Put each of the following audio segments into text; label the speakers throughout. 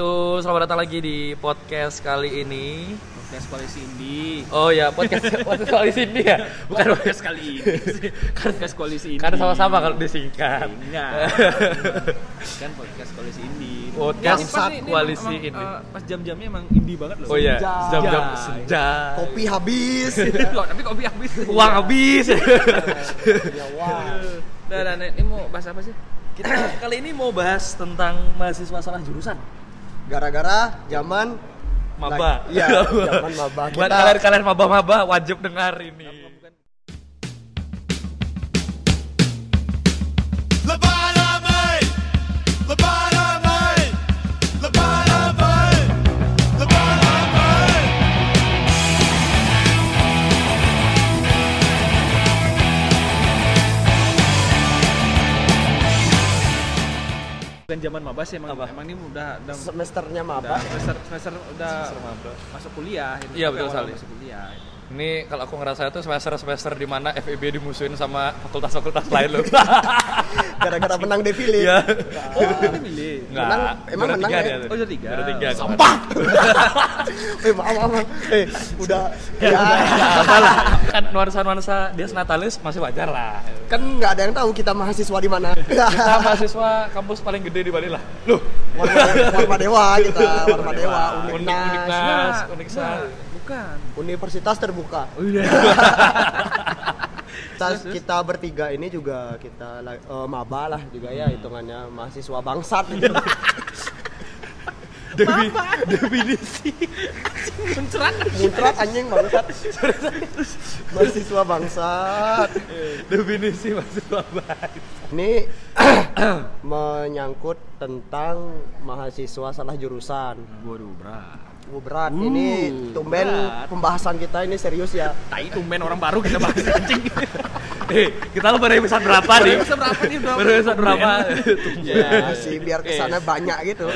Speaker 1: Yuk, selamat datang lagi di podcast kali ini.
Speaker 2: Podcast koalisi Indi.
Speaker 1: Oh ya, podcast podcast kali ini ya. Bukan
Speaker 2: podcast kali ini. sih. podcast koalisi Indi.
Speaker 1: karena sama-sama kalau disingkat.
Speaker 2: Enggak. kan podcast koalisi Indi.
Speaker 1: Podcast
Speaker 2: Ini pas nih, ini
Speaker 1: koalisi
Speaker 2: emang,
Speaker 1: Indi.
Speaker 2: eh, pas jam-jamnya emang Indi banget loh.
Speaker 1: Oh ya,
Speaker 3: Senja.
Speaker 1: jam-jam senja.
Speaker 3: kopi habis
Speaker 2: Loh, tapi kopi habis.
Speaker 1: Uang habis.
Speaker 3: ya wah
Speaker 2: Udah, udah, Nek. ini mau bahas apa sih?
Speaker 1: Kita kali ini mau bahas tentang mahasiswa salah jurusan.
Speaker 3: gara-gara zaman
Speaker 1: Maba.
Speaker 3: Lagi- iya, zaman maba.
Speaker 1: Buat
Speaker 3: Kita-
Speaker 1: kalian-kalian maba-maba wajib dengar ini.
Speaker 4: Lebalamai, lebalamai, lebalamai, lebalamai.
Speaker 2: Bukan zaman mabas sih, emang emang ini udah udah
Speaker 3: semesternya
Speaker 2: udah
Speaker 3: maba
Speaker 2: semester semester udah masuk kuliah ini.
Speaker 1: Iya, betul
Speaker 2: Awal-awal
Speaker 1: sekali.
Speaker 2: Masuk kuliah.
Speaker 1: Ini kalau aku ngerasa tuh semester-semester di mana FEB dimusuhin sama fakultas-fakultas lain loh.
Speaker 3: gara-gara menang defile
Speaker 1: Iya.
Speaker 2: Oh, ini milih.
Speaker 1: Enggak.
Speaker 3: Menang- emang
Speaker 1: Juara
Speaker 3: menang
Speaker 1: tiga
Speaker 3: ya?
Speaker 1: dia tuh.
Speaker 2: Oh, juara tiga.
Speaker 1: Juara tiga. kemarin.
Speaker 3: sampah eh maaf maaf maaf. eh udah ya,
Speaker 1: Apa lah? kan nuansa-nuansa dia senatalis masih wajar lah.
Speaker 3: kan nggak ada yang tahu kita mahasiswa di mana
Speaker 1: Kita mahasiswa kampus paling gede di Bali lah. Loh,
Speaker 3: Warma- warma dewa kita warma dewa
Speaker 1: Unik-
Speaker 3: uniknas
Speaker 1: Uniknas,
Speaker 2: Nah,
Speaker 1: Uniksan.
Speaker 2: nah, Bukan.
Speaker 3: universitas terbuka
Speaker 2: Udah.
Speaker 3: kita, kita bertiga ini juga kita la- eh, maba lah juga ya hitungannya mahasiswa bangsat gitu.
Speaker 1: Dewi
Speaker 2: Muncrat.
Speaker 3: muntrat anjing bangsat mahasiswa bangsat
Speaker 1: definisi mahasiswa Bali.
Speaker 3: Ini menyangkut tentang mahasiswa salah jurusan.
Speaker 2: Waduh, berat.
Speaker 3: Wuh, berat. ini tumben
Speaker 2: berat.
Speaker 3: pembahasan kita ini serius ya.
Speaker 1: Nah,
Speaker 2: Tai tumben orang baru kita bahas anjing.
Speaker 1: Eh, kita lo baru episode berapa nih?
Speaker 2: Baru episode berapa nih, Bro?
Speaker 1: Baru episode berapa?
Speaker 2: Iya,
Speaker 3: Masih Iya, biar kesana banyak gitu.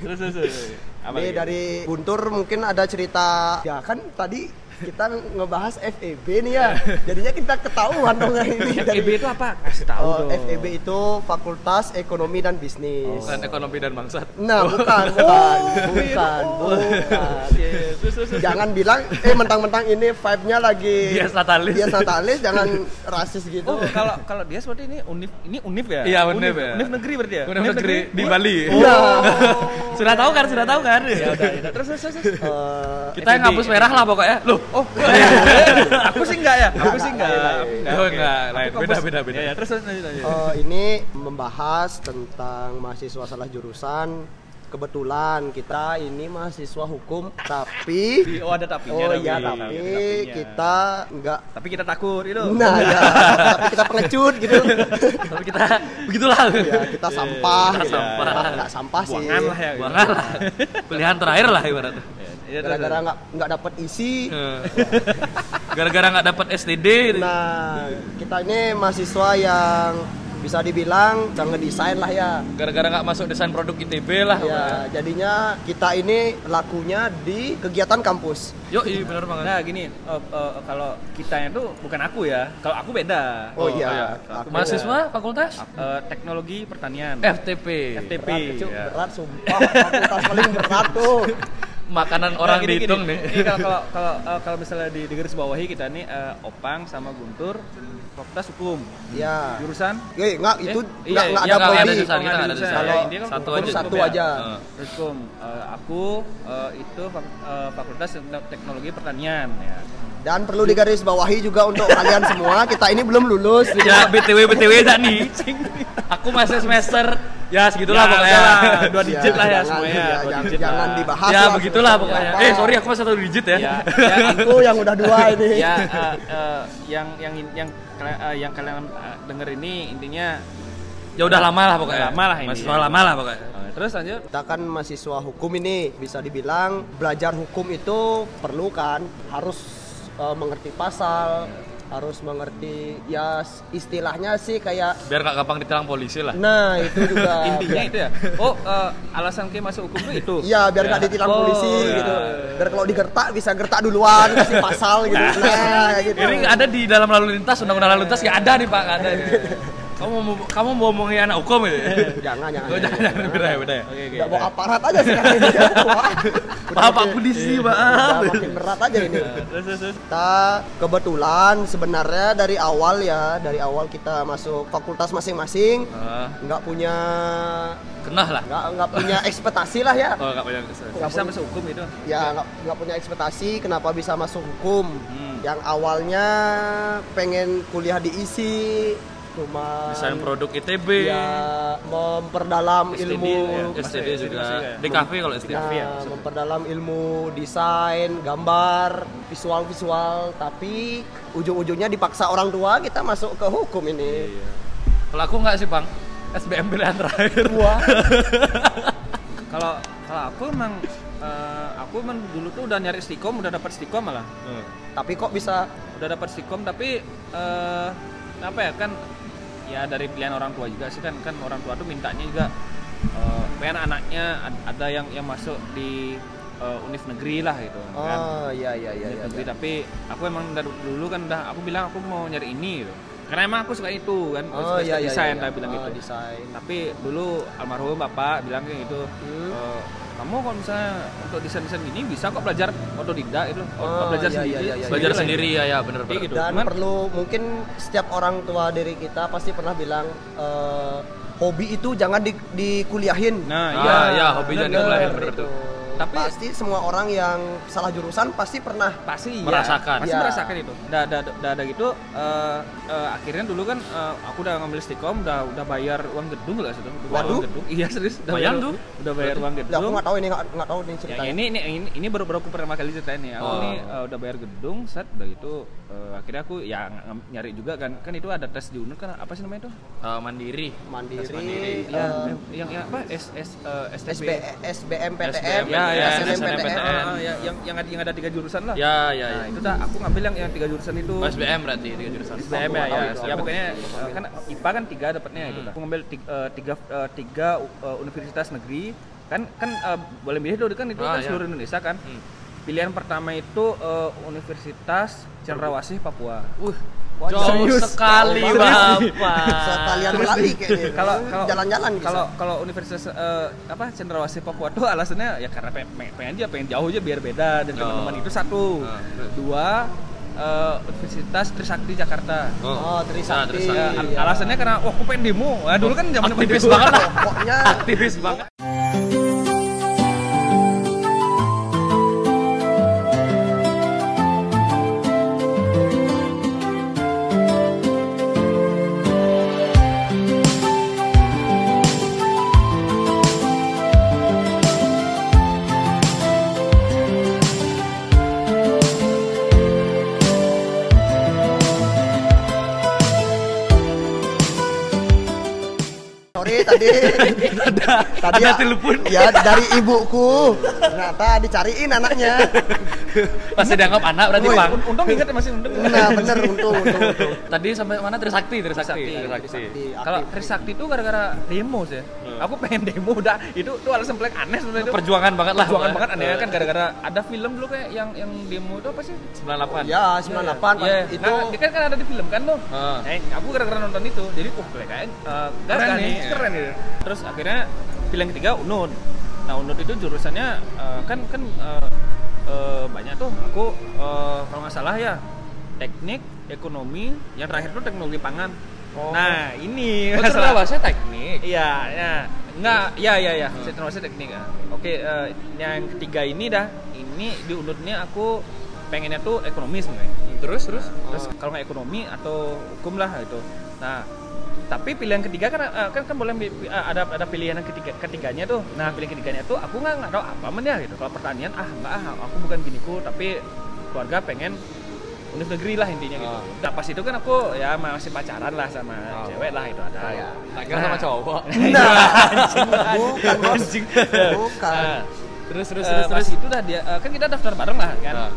Speaker 2: Terus terus. terus.
Speaker 1: Iya,
Speaker 2: Apa
Speaker 3: Ini
Speaker 2: lagi?
Speaker 3: dari Guntur mungkin ada cerita. Ya kan tadi kita ngebahas FEB nih ya. Jadinya kita ketahuan dong ini.
Speaker 2: FEB itu apa? Kasih E tahu
Speaker 3: Oh,
Speaker 2: dong.
Speaker 3: FEB itu Fakultas Ekonomi dan Bisnis.
Speaker 2: Oh.
Speaker 1: Bukan ekonomi dan bangsat.
Speaker 3: Nah, bukan,
Speaker 1: Oh,
Speaker 3: bukan,
Speaker 2: iya,
Speaker 1: iya.
Speaker 3: bukan, bukan.
Speaker 2: Yes, terus terus. terus.
Speaker 3: jangan bilang eh mentang-mentang ini vibe-nya lagi
Speaker 1: Dia satalis.
Speaker 3: dia satalis jangan rasis gitu
Speaker 2: Oh, kalau kalau dia seperti ini unif ini unif ya?
Speaker 1: Iya, Unif ya.
Speaker 2: Unif negeri berarti ya?
Speaker 1: Unik negeri Oh. di Bali.
Speaker 3: Iya.
Speaker 1: Iya,
Speaker 2: Sudah tahu kan? Sudah tahu kan? Ya udah, ya udah. terus terus terus.
Speaker 3: Eh,
Speaker 1: Kita yang ngapus merah lah pokoknya. Loh,
Speaker 2: Oh, eh, aku sih enggak ya? Aku sih enggak.
Speaker 3: Enggak,
Speaker 2: Aku
Speaker 1: Oh,
Speaker 2: oke.
Speaker 1: enggak,
Speaker 2: Aku
Speaker 1: lain.
Speaker 2: kampus-
Speaker 1: Beda, beda, beda.
Speaker 2: Ya, ya, terus terus lanjut lanjut.
Speaker 3: eh, ini membahas tentang mahasiswa salah jurusan kebetulan kita ini mahasiswa hukum tapi
Speaker 2: Di- Oh, ada tapinya.
Speaker 3: oh
Speaker 2: tapi.
Speaker 3: iya
Speaker 2: Ada
Speaker 3: tapi
Speaker 2: tapinya.
Speaker 3: kita nggak
Speaker 2: tapi kita takut itu.
Speaker 3: nah ya tapi kita pengecut gitu
Speaker 1: tapi kita begitulah.
Speaker 3: ya kita sampah
Speaker 1: Kita
Speaker 3: gitu.
Speaker 1: sampah.
Speaker 3: Nah, nggak sampah sih
Speaker 2: Iya, Buangan lah ya. gitu.
Speaker 1: Buangan lah. Pilihan terakhir lah ibaratnya.
Speaker 2: Ya, terus,
Speaker 3: gara-gara
Speaker 2: terus.
Speaker 3: nggak nggak dapat isi
Speaker 1: Eh, Gara-gara nggak dapat STD.
Speaker 2: Iya.
Speaker 3: Nah, kita ini mahasiswa yang bisa dibilang bisa ngedesain lah ya.
Speaker 1: Gara-gara nggak masuk desain produk ITB
Speaker 2: Iya.
Speaker 1: lah.
Speaker 3: Ya, jadinya kita ini lakunya di kegiatan kampus.
Speaker 1: Yuk, iya benar banget.
Speaker 2: Nah gini, eh, eh, kalau kitanya tuh bukan aku ya, kalau aku beda.
Speaker 3: Oh,
Speaker 2: kalau
Speaker 3: iya,
Speaker 2: aku
Speaker 3: aku-
Speaker 1: Mahasiswa fakultas
Speaker 2: eh, teknologi pertanian.
Speaker 1: FTP.
Speaker 2: FTP.
Speaker 3: Berat,
Speaker 1: Iya.
Speaker 3: kecil,
Speaker 2: ya.
Speaker 3: berat sumpah. Fakultas paling berat tuh.
Speaker 1: Makanan
Speaker 2: Nah,
Speaker 1: orang
Speaker 2: gini,
Speaker 1: dihitung
Speaker 2: gini.
Speaker 1: nih.
Speaker 2: Ini kalau kalau kalau eh, kalau misalnya di, di garis bawahi kita nih eh, Opang sama Guntur fakultas hukum.
Speaker 3: Ya.
Speaker 2: Jurusan
Speaker 3: Eh, enggak
Speaker 1: Iya,
Speaker 3: itu enggak enggak
Speaker 1: iya,
Speaker 3: ada
Speaker 1: nggak
Speaker 3: prodi.
Speaker 1: jurusan, kita nggak ada
Speaker 2: Nggak ada
Speaker 1: jurusan.
Speaker 3: jurusan.
Speaker 1: Kalau
Speaker 2: Kalau
Speaker 1: satu
Speaker 2: hukum
Speaker 1: aja.
Speaker 3: satu
Speaker 1: cukup ya.
Speaker 3: aja.
Speaker 1: Heeh.
Speaker 2: hukum. Eh, aku eh, itu fak- eh, fakultas teknologi pertanian ya.
Speaker 3: Dan perlu digarisbawahi juga untuk kalian semua, kita ini belum lulus.
Speaker 1: Ya BTW BTW dah nih. Aku masih semester ya segitulah
Speaker 2: Ya,
Speaker 1: pokoknya.
Speaker 2: udahlah, dua digit lah ya
Speaker 3: jangan,
Speaker 2: semuanya.
Speaker 3: ya,
Speaker 2: dua
Speaker 3: jangan,
Speaker 2: digit
Speaker 3: jangan
Speaker 2: lah.
Speaker 3: dibahas.
Speaker 1: ya
Speaker 3: lah,
Speaker 1: begitulah
Speaker 3: sebetulnya.
Speaker 1: pokoknya.
Speaker 3: Apa?
Speaker 1: Eh sorry aku masih satu digit ya.
Speaker 2: Ya, ya,
Speaker 3: Aku yang udah dua ini.
Speaker 2: ya eh, eh, yang yang yang kalian eh, yang kalian eh, denger ini intinya
Speaker 1: Ya udah lama lah pokoknya.
Speaker 2: Lama lah ini.
Speaker 1: Mahasiswa lama lah pokoknya.
Speaker 2: eh, terus lanjut
Speaker 3: Kita kan mahasiswa hukum ini bisa dibilang belajar hukum itu perlu kan harus eh, mengerti pasal, harus mengerti ya s- istilahnya sih kayak
Speaker 1: Biar nggak gampang ditilang polisi
Speaker 2: Iya.
Speaker 1: lah.
Speaker 3: nah itu juga
Speaker 2: intinya
Speaker 3: biar-
Speaker 2: itu ya oh eh, alasan kayak masuk hukum tuh itu
Speaker 3: Iya biar nggak ditilang
Speaker 2: Oh,
Speaker 3: polisi
Speaker 2: ya.
Speaker 3: gitu. Biar kalau digertak bisa gertak duluan kasih pasal gitu. Nah, kayak gitu.
Speaker 2: Iya.
Speaker 1: Ini nggak ada di dalam lalu lintas, undang-undang lalu lintas nggak ada nih Pak, nggak ada. Kamu mau kamu mau ngomongin anak hukum ya?
Speaker 3: jangan jangan.
Speaker 1: Oh, jangan, jangan, beda ya, beda ya.
Speaker 2: Oke, oke.
Speaker 3: Udah mau aparat aja sekarang ini. Wah,
Speaker 1: Maaf, Iya,
Speaker 3: udah
Speaker 1: Pak Iya.
Speaker 3: makin-
Speaker 1: Polisi,
Speaker 3: udah
Speaker 1: maaf.
Speaker 3: makin berat aja ini.
Speaker 2: Terus terus terus.
Speaker 3: Kita kebetulan sebenarnya dari awal ya, dari awal kita masuk fakultas masing-masing,
Speaker 1: Ah,
Speaker 3: nggak punya
Speaker 1: Kenah lah.
Speaker 3: nggak nggak punya ekspektasi lah ya.
Speaker 1: Oh, enggak banyak kesan.
Speaker 3: Nggak
Speaker 2: Bisa
Speaker 3: punya-
Speaker 2: masuk hukum gitu.
Speaker 3: ya nggak nggak punya ekspektasi kenapa bisa masuk hukum
Speaker 1: Hmm.
Speaker 3: yang awalnya pengen kuliah di ISI cuma
Speaker 1: Desain produk ITB.
Speaker 3: ya memperdalam
Speaker 2: STD,
Speaker 3: ilmu
Speaker 2: ya.
Speaker 1: STD
Speaker 2: Masuk ya,
Speaker 1: juga.
Speaker 2: masuk ya.
Speaker 1: Di kafe kalau STD.
Speaker 3: Nah,
Speaker 2: ya, maksudnya.
Speaker 3: memperdalam ilmu desain, gambar, visual-visual, tapi ujung-ujungnya dipaksa orang tua kita masuk ke hukum
Speaker 2: Iya,
Speaker 3: ini.
Speaker 1: Kalau aku enggak sih, Bang. SBM pilihan terakhir.
Speaker 3: Wah,
Speaker 2: Kalau kalau aku emang eh, aku emang dulu tuh udah nyari stikom, udah dapat stikom malah.
Speaker 1: Hmm.
Speaker 3: tapi kok bisa
Speaker 2: Udah dapat stikom tapi eh, apa ya kan ya dari pilihan orang tua juga sih kan kan orang tua tuh mintanya juga eh, pengen anaknya ad- ada yang yang masuk di eh, univ negeri lah gitu kan.
Speaker 3: Oh, iya iya iya
Speaker 2: Unit
Speaker 3: iya.
Speaker 2: negeri
Speaker 3: iya.
Speaker 2: tapi aku emang dari dulu kan udah aku bilang aku mau nyari ini gitu karena emang aku suka itu kan aku
Speaker 3: Oh,
Speaker 2: suka
Speaker 3: iya iya.
Speaker 2: desain
Speaker 3: iya.
Speaker 2: lah bilang
Speaker 3: Ah,
Speaker 2: gitu
Speaker 3: desain.
Speaker 2: tapi dulu almarhum bapak bilang kayak gitu
Speaker 3: Hmm.
Speaker 2: "Eh, kamu kalau misalnya untuk desain desain ini bisa kok belajar otodidak itu loh Kok
Speaker 3: Oh,
Speaker 2: belajar
Speaker 3: iya,
Speaker 2: sendiri
Speaker 3: iya, iya, iya.
Speaker 1: Belajar
Speaker 2: lah
Speaker 1: sendiri
Speaker 2: gitu.
Speaker 1: ya, ya bener
Speaker 2: Kayak
Speaker 1: bener.
Speaker 2: gitu.
Speaker 3: Dan
Speaker 2: Cuman-
Speaker 3: perlu mungkin setiap orang tua dari kita pasti pernah bilang eh, hobi itu jangan di, dikuliahin. gitu.
Speaker 2: nah
Speaker 1: Ah,
Speaker 2: iya
Speaker 1: ya, hobi jangan
Speaker 2: bener.
Speaker 1: dikuliahin, bener tuh.
Speaker 3: Tapi
Speaker 2: Tapi-
Speaker 3: pasti semua orang yang salah jurusan pasti pernah.
Speaker 2: pasti iya.
Speaker 1: Merasakan.
Speaker 2: pasti
Speaker 3: Iya.
Speaker 2: merasakan itu udah udah udah, udah gitu eh, eh, akhirnya dulu kan eh, aku udah ngambil stikom udah udah bayar uang gedung lah sudah udah bayar
Speaker 3: Waduh.
Speaker 2: uang gedung iya serius udah
Speaker 1: Bayar
Speaker 2: bayar
Speaker 1: tuh.
Speaker 2: udah bayar uang
Speaker 3: Lah, aku
Speaker 2: gedung
Speaker 3: nggak tahu ini nggak nggak tahu ini
Speaker 2: yang
Speaker 3: ceritanya.
Speaker 2: ini ini ini, ini baru baru aku pertama kali ceritain nih aku
Speaker 1: Oh.
Speaker 2: nih eh, udah bayar gedung set udah gitu eh, akhirnya aku ya ng- ng- nyari juga kan kan itu ada tes di UNUR kan apa sih namanya tuh
Speaker 1: Eh, mandiri. Tes
Speaker 3: mandiri,
Speaker 1: mandiri.
Speaker 2: ya,
Speaker 3: eh,
Speaker 2: yang yang apa S S eh, STB
Speaker 3: SB, SBMPTN,
Speaker 2: ya ya
Speaker 1: SNMPTN.
Speaker 2: SNMPTN. Ah, ah, ya, yang yang ada yang ada tiga jurusan lah
Speaker 1: Ya, ya, ya.
Speaker 2: nah, itu dah aku ngambil yang yang tiga jurusan itu
Speaker 1: Oh, SBM berarti tiga jurusan. Oh,
Speaker 2: SBM ya, ya,
Speaker 3: Tahu itu
Speaker 2: ya
Speaker 3: apa.
Speaker 2: pokoknya eh, kan IPA kan tiga dapatnya itu. Aku ngambil tiga, eh, tiga, eh, tiga, eh, universitas negeri kan kan eh, boleh milih tuh kan itu
Speaker 1: Ah,
Speaker 2: kan
Speaker 1: ya.
Speaker 2: seluruh Indonesia kan.
Speaker 1: Hmm.
Speaker 2: Pilihan pertama itu eh, Universitas Cendrawasih Papua.
Speaker 1: Uh,
Speaker 2: Wah,
Speaker 1: jauh
Speaker 2: serius.
Speaker 1: sekali,
Speaker 2: Serius.
Speaker 1: Bapak.
Speaker 3: Sekalian berlari kayaknya.
Speaker 2: Kalau kalau
Speaker 3: Iya, jalan-jalan gitu. bisa.
Speaker 2: kalau kalau Universitas eh, apa Cendrawasih Papua tuh alasannya ya karena pengen, pengen, pengen aja pengen jauh aja biar beda dan
Speaker 1: Oh.
Speaker 2: teman-teman itu satu.
Speaker 1: Ah.
Speaker 2: Dua eh, Universitas Trisakti Jakarta.
Speaker 3: Oh, Trisakti.
Speaker 1: Trisakti.
Speaker 2: Ya, al- alasannya karena wah aku pengen demo. Nah, dulu kan zaman
Speaker 1: iya. Aktivis
Speaker 2: demo.
Speaker 1: banget lah.
Speaker 3: Oh, pokoknya
Speaker 1: Aktivis banget.
Speaker 3: sorry tadi
Speaker 1: ada
Speaker 3: tadi ya-
Speaker 1: telepon.
Speaker 3: ya dari ibuku ternyata dicariin anaknya
Speaker 1: Pasti dianggap anak berarti,
Speaker 3: Woi,
Speaker 1: Bang.
Speaker 2: Un- Untung ingat masih untung.
Speaker 3: nah bener untung untung untung
Speaker 1: Tadi sampai mana Trisakti, Trisakti. Trisakti.
Speaker 3: Trisakti,
Speaker 2: Kalau
Speaker 3: aktif.
Speaker 2: Trisakti itu gara-gara demo sih. Aku pengen demo udah itu itu alasan paling aneh sebenarnya itu.
Speaker 1: Perjuangan banget lah.
Speaker 2: Perjuangan
Speaker 1: Bang.
Speaker 2: banget aneh
Speaker 1: Eh,
Speaker 2: kan gara-gara ada film dulu kayak yang yang demo itu apa sih?
Speaker 1: 98.
Speaker 3: ya
Speaker 2: Iya,
Speaker 3: 98 itu
Speaker 2: nah, dia kan, kan ada di film kan tuh.
Speaker 1: Ah.
Speaker 2: Eh, aku gara-gara nonton itu. Jadi uh kayaknya eh, gas
Speaker 1: Keren
Speaker 2: kan
Speaker 1: nih.
Speaker 2: nih, keren gitu. Terus akhirnya pilihan ketiga Unud. Nah, Unud itu jurusannya eh, kan kan eh, eh, banyak tuh. Aku eh, kalau nggak salah ya teknik, ekonomi, yang terakhir tuh teknologi pangan.
Speaker 1: Oh.
Speaker 2: Nah, ini
Speaker 1: Oh,
Speaker 2: masalah.
Speaker 1: terus saya teknik.
Speaker 2: Iya, ya. Enggak, ya ya ya.
Speaker 1: Hmm.
Speaker 2: Saya termasuk teknik ya. Oke, eh, yang ketiga ini dah. Ini di Unudnya aku pengennya tuh ekonomi sebenarnya
Speaker 1: Terus, terus.
Speaker 2: terus kalau nggak ekonomi atau hukum lah gitu nah tapi pilihan ketiga kan eh, kan kan boleh bi- bi- eh, ada ada pilihan yang ketiga ketiganya tuh nah pilihan ketiganya tuh aku nggak nggak tahu apa men ya gitu kalau pertanian ah nggak ah aku bukan giniku tapi keluarga pengen univ negeri lah intinya gitu
Speaker 1: Ah.
Speaker 2: nah pas itu kan aku ya masih pacaran lah sama
Speaker 1: Ah.
Speaker 2: cewek lah itu ada
Speaker 3: Iya.
Speaker 1: Tak kira sama cowok.
Speaker 3: nah
Speaker 2: kan
Speaker 3: bukan bos bukan
Speaker 1: Iya.
Speaker 2: Nah,
Speaker 1: Terus, terus,
Speaker 2: eh,
Speaker 1: terus,
Speaker 2: pas
Speaker 1: terus.
Speaker 2: itu dah dia eh, kan kita daftar bareng lah kan
Speaker 1: Nah,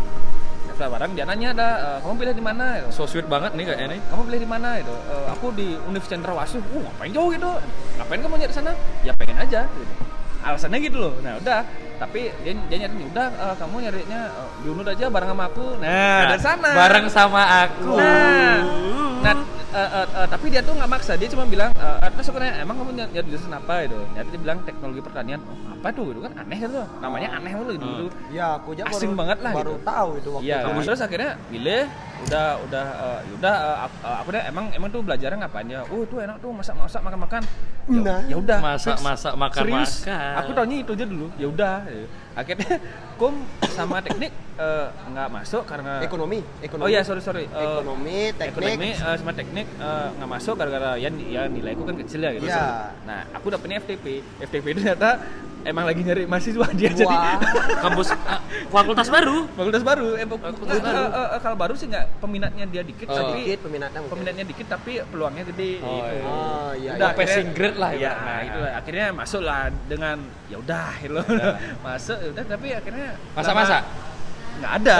Speaker 2: daftar bareng dia nanya ada eh, kamu pilih di mana gitu.
Speaker 1: so sweet banget nih kayaknya nih.
Speaker 2: kamu pilih di mana gitu "Eh, aku di Univ Cendrawasih uh ngapain jauh gitu ngapain kamu nyari sana ya pengen aja gitu alasannya gitu loh nah udah tapi dia, dia nyari udah eh, kamu nyarinya eh,
Speaker 1: Nah,
Speaker 2: di Unud aja Nah, bareng sama aku nah, dari sana
Speaker 1: Bareng sama aku.
Speaker 2: nah, nah eh, eh, eh, tapi dia tuh nggak maksa dia cuma bilang eh, eh, terus aku nanya emang kamu nyari nyari jurusan apa gitu ternyata dia bilang teknologi pertanian oh, apa tuh gitu kan aneh gitu namanya aneh mulu gitu dulu
Speaker 3: Ya, aku aja
Speaker 2: Asing
Speaker 3: baru,
Speaker 2: banget lah
Speaker 3: baru
Speaker 2: gitu.
Speaker 3: tahu itu waktu
Speaker 2: Iya,
Speaker 3: itu.
Speaker 2: terus akhirnya pilih udah udah eh, udah eh, aku, eh, aku deh emang emang tuh belajarnya ngapain ya? Oh, itu enak tuh masak-masak makan-makan. Ya,
Speaker 3: Nah.
Speaker 2: ya udah.
Speaker 1: Masak-
Speaker 2: fix.
Speaker 1: masak, makan-
Speaker 2: Serius.
Speaker 1: makan.
Speaker 2: Aku taunya itu aja dulu. Ya udah. Akhirnya kom sama teknik eh, nggak masuk karena
Speaker 3: ekonomi, ekonomi.
Speaker 2: Oh iya, sorry sorry. Eh,
Speaker 3: ekonomi, teknik.
Speaker 2: ekonomi eh, sama teknik eh, nggak masuk gara-gara ya, ya nilaiku kan kecil ya gitu.
Speaker 3: Iya.
Speaker 2: Nah, aku dapetnya FTP. FTP itu ternyata emang lagi nyari mahasiswa dia jadi
Speaker 3: Wah.
Speaker 1: Kampus ah, fakultas baru.
Speaker 2: Fakultas baru, eh, bu-
Speaker 1: Fakultas
Speaker 2: eh,
Speaker 1: baru.
Speaker 2: eh, eh, kalau baru sih nggak peminatnya dia dikit,
Speaker 1: Oh.
Speaker 2: tapi
Speaker 3: Sedikit peminatnya mungkin.
Speaker 2: peminatnya dikit tapi peluangnya gede.
Speaker 1: Oh,
Speaker 2: gitu.
Speaker 1: iya.
Speaker 3: Oh, iya.
Speaker 1: Udah,
Speaker 3: iya.
Speaker 1: Pe- passing grade lah,
Speaker 2: Iya,
Speaker 1: ibaratnya.
Speaker 2: nah, itu lah. akhirnya masuklah dengan ya udah gitu loh. Masuk ya udah tapi akhirnya
Speaker 1: Iya. Masa-masa?
Speaker 2: lama- nggak ada.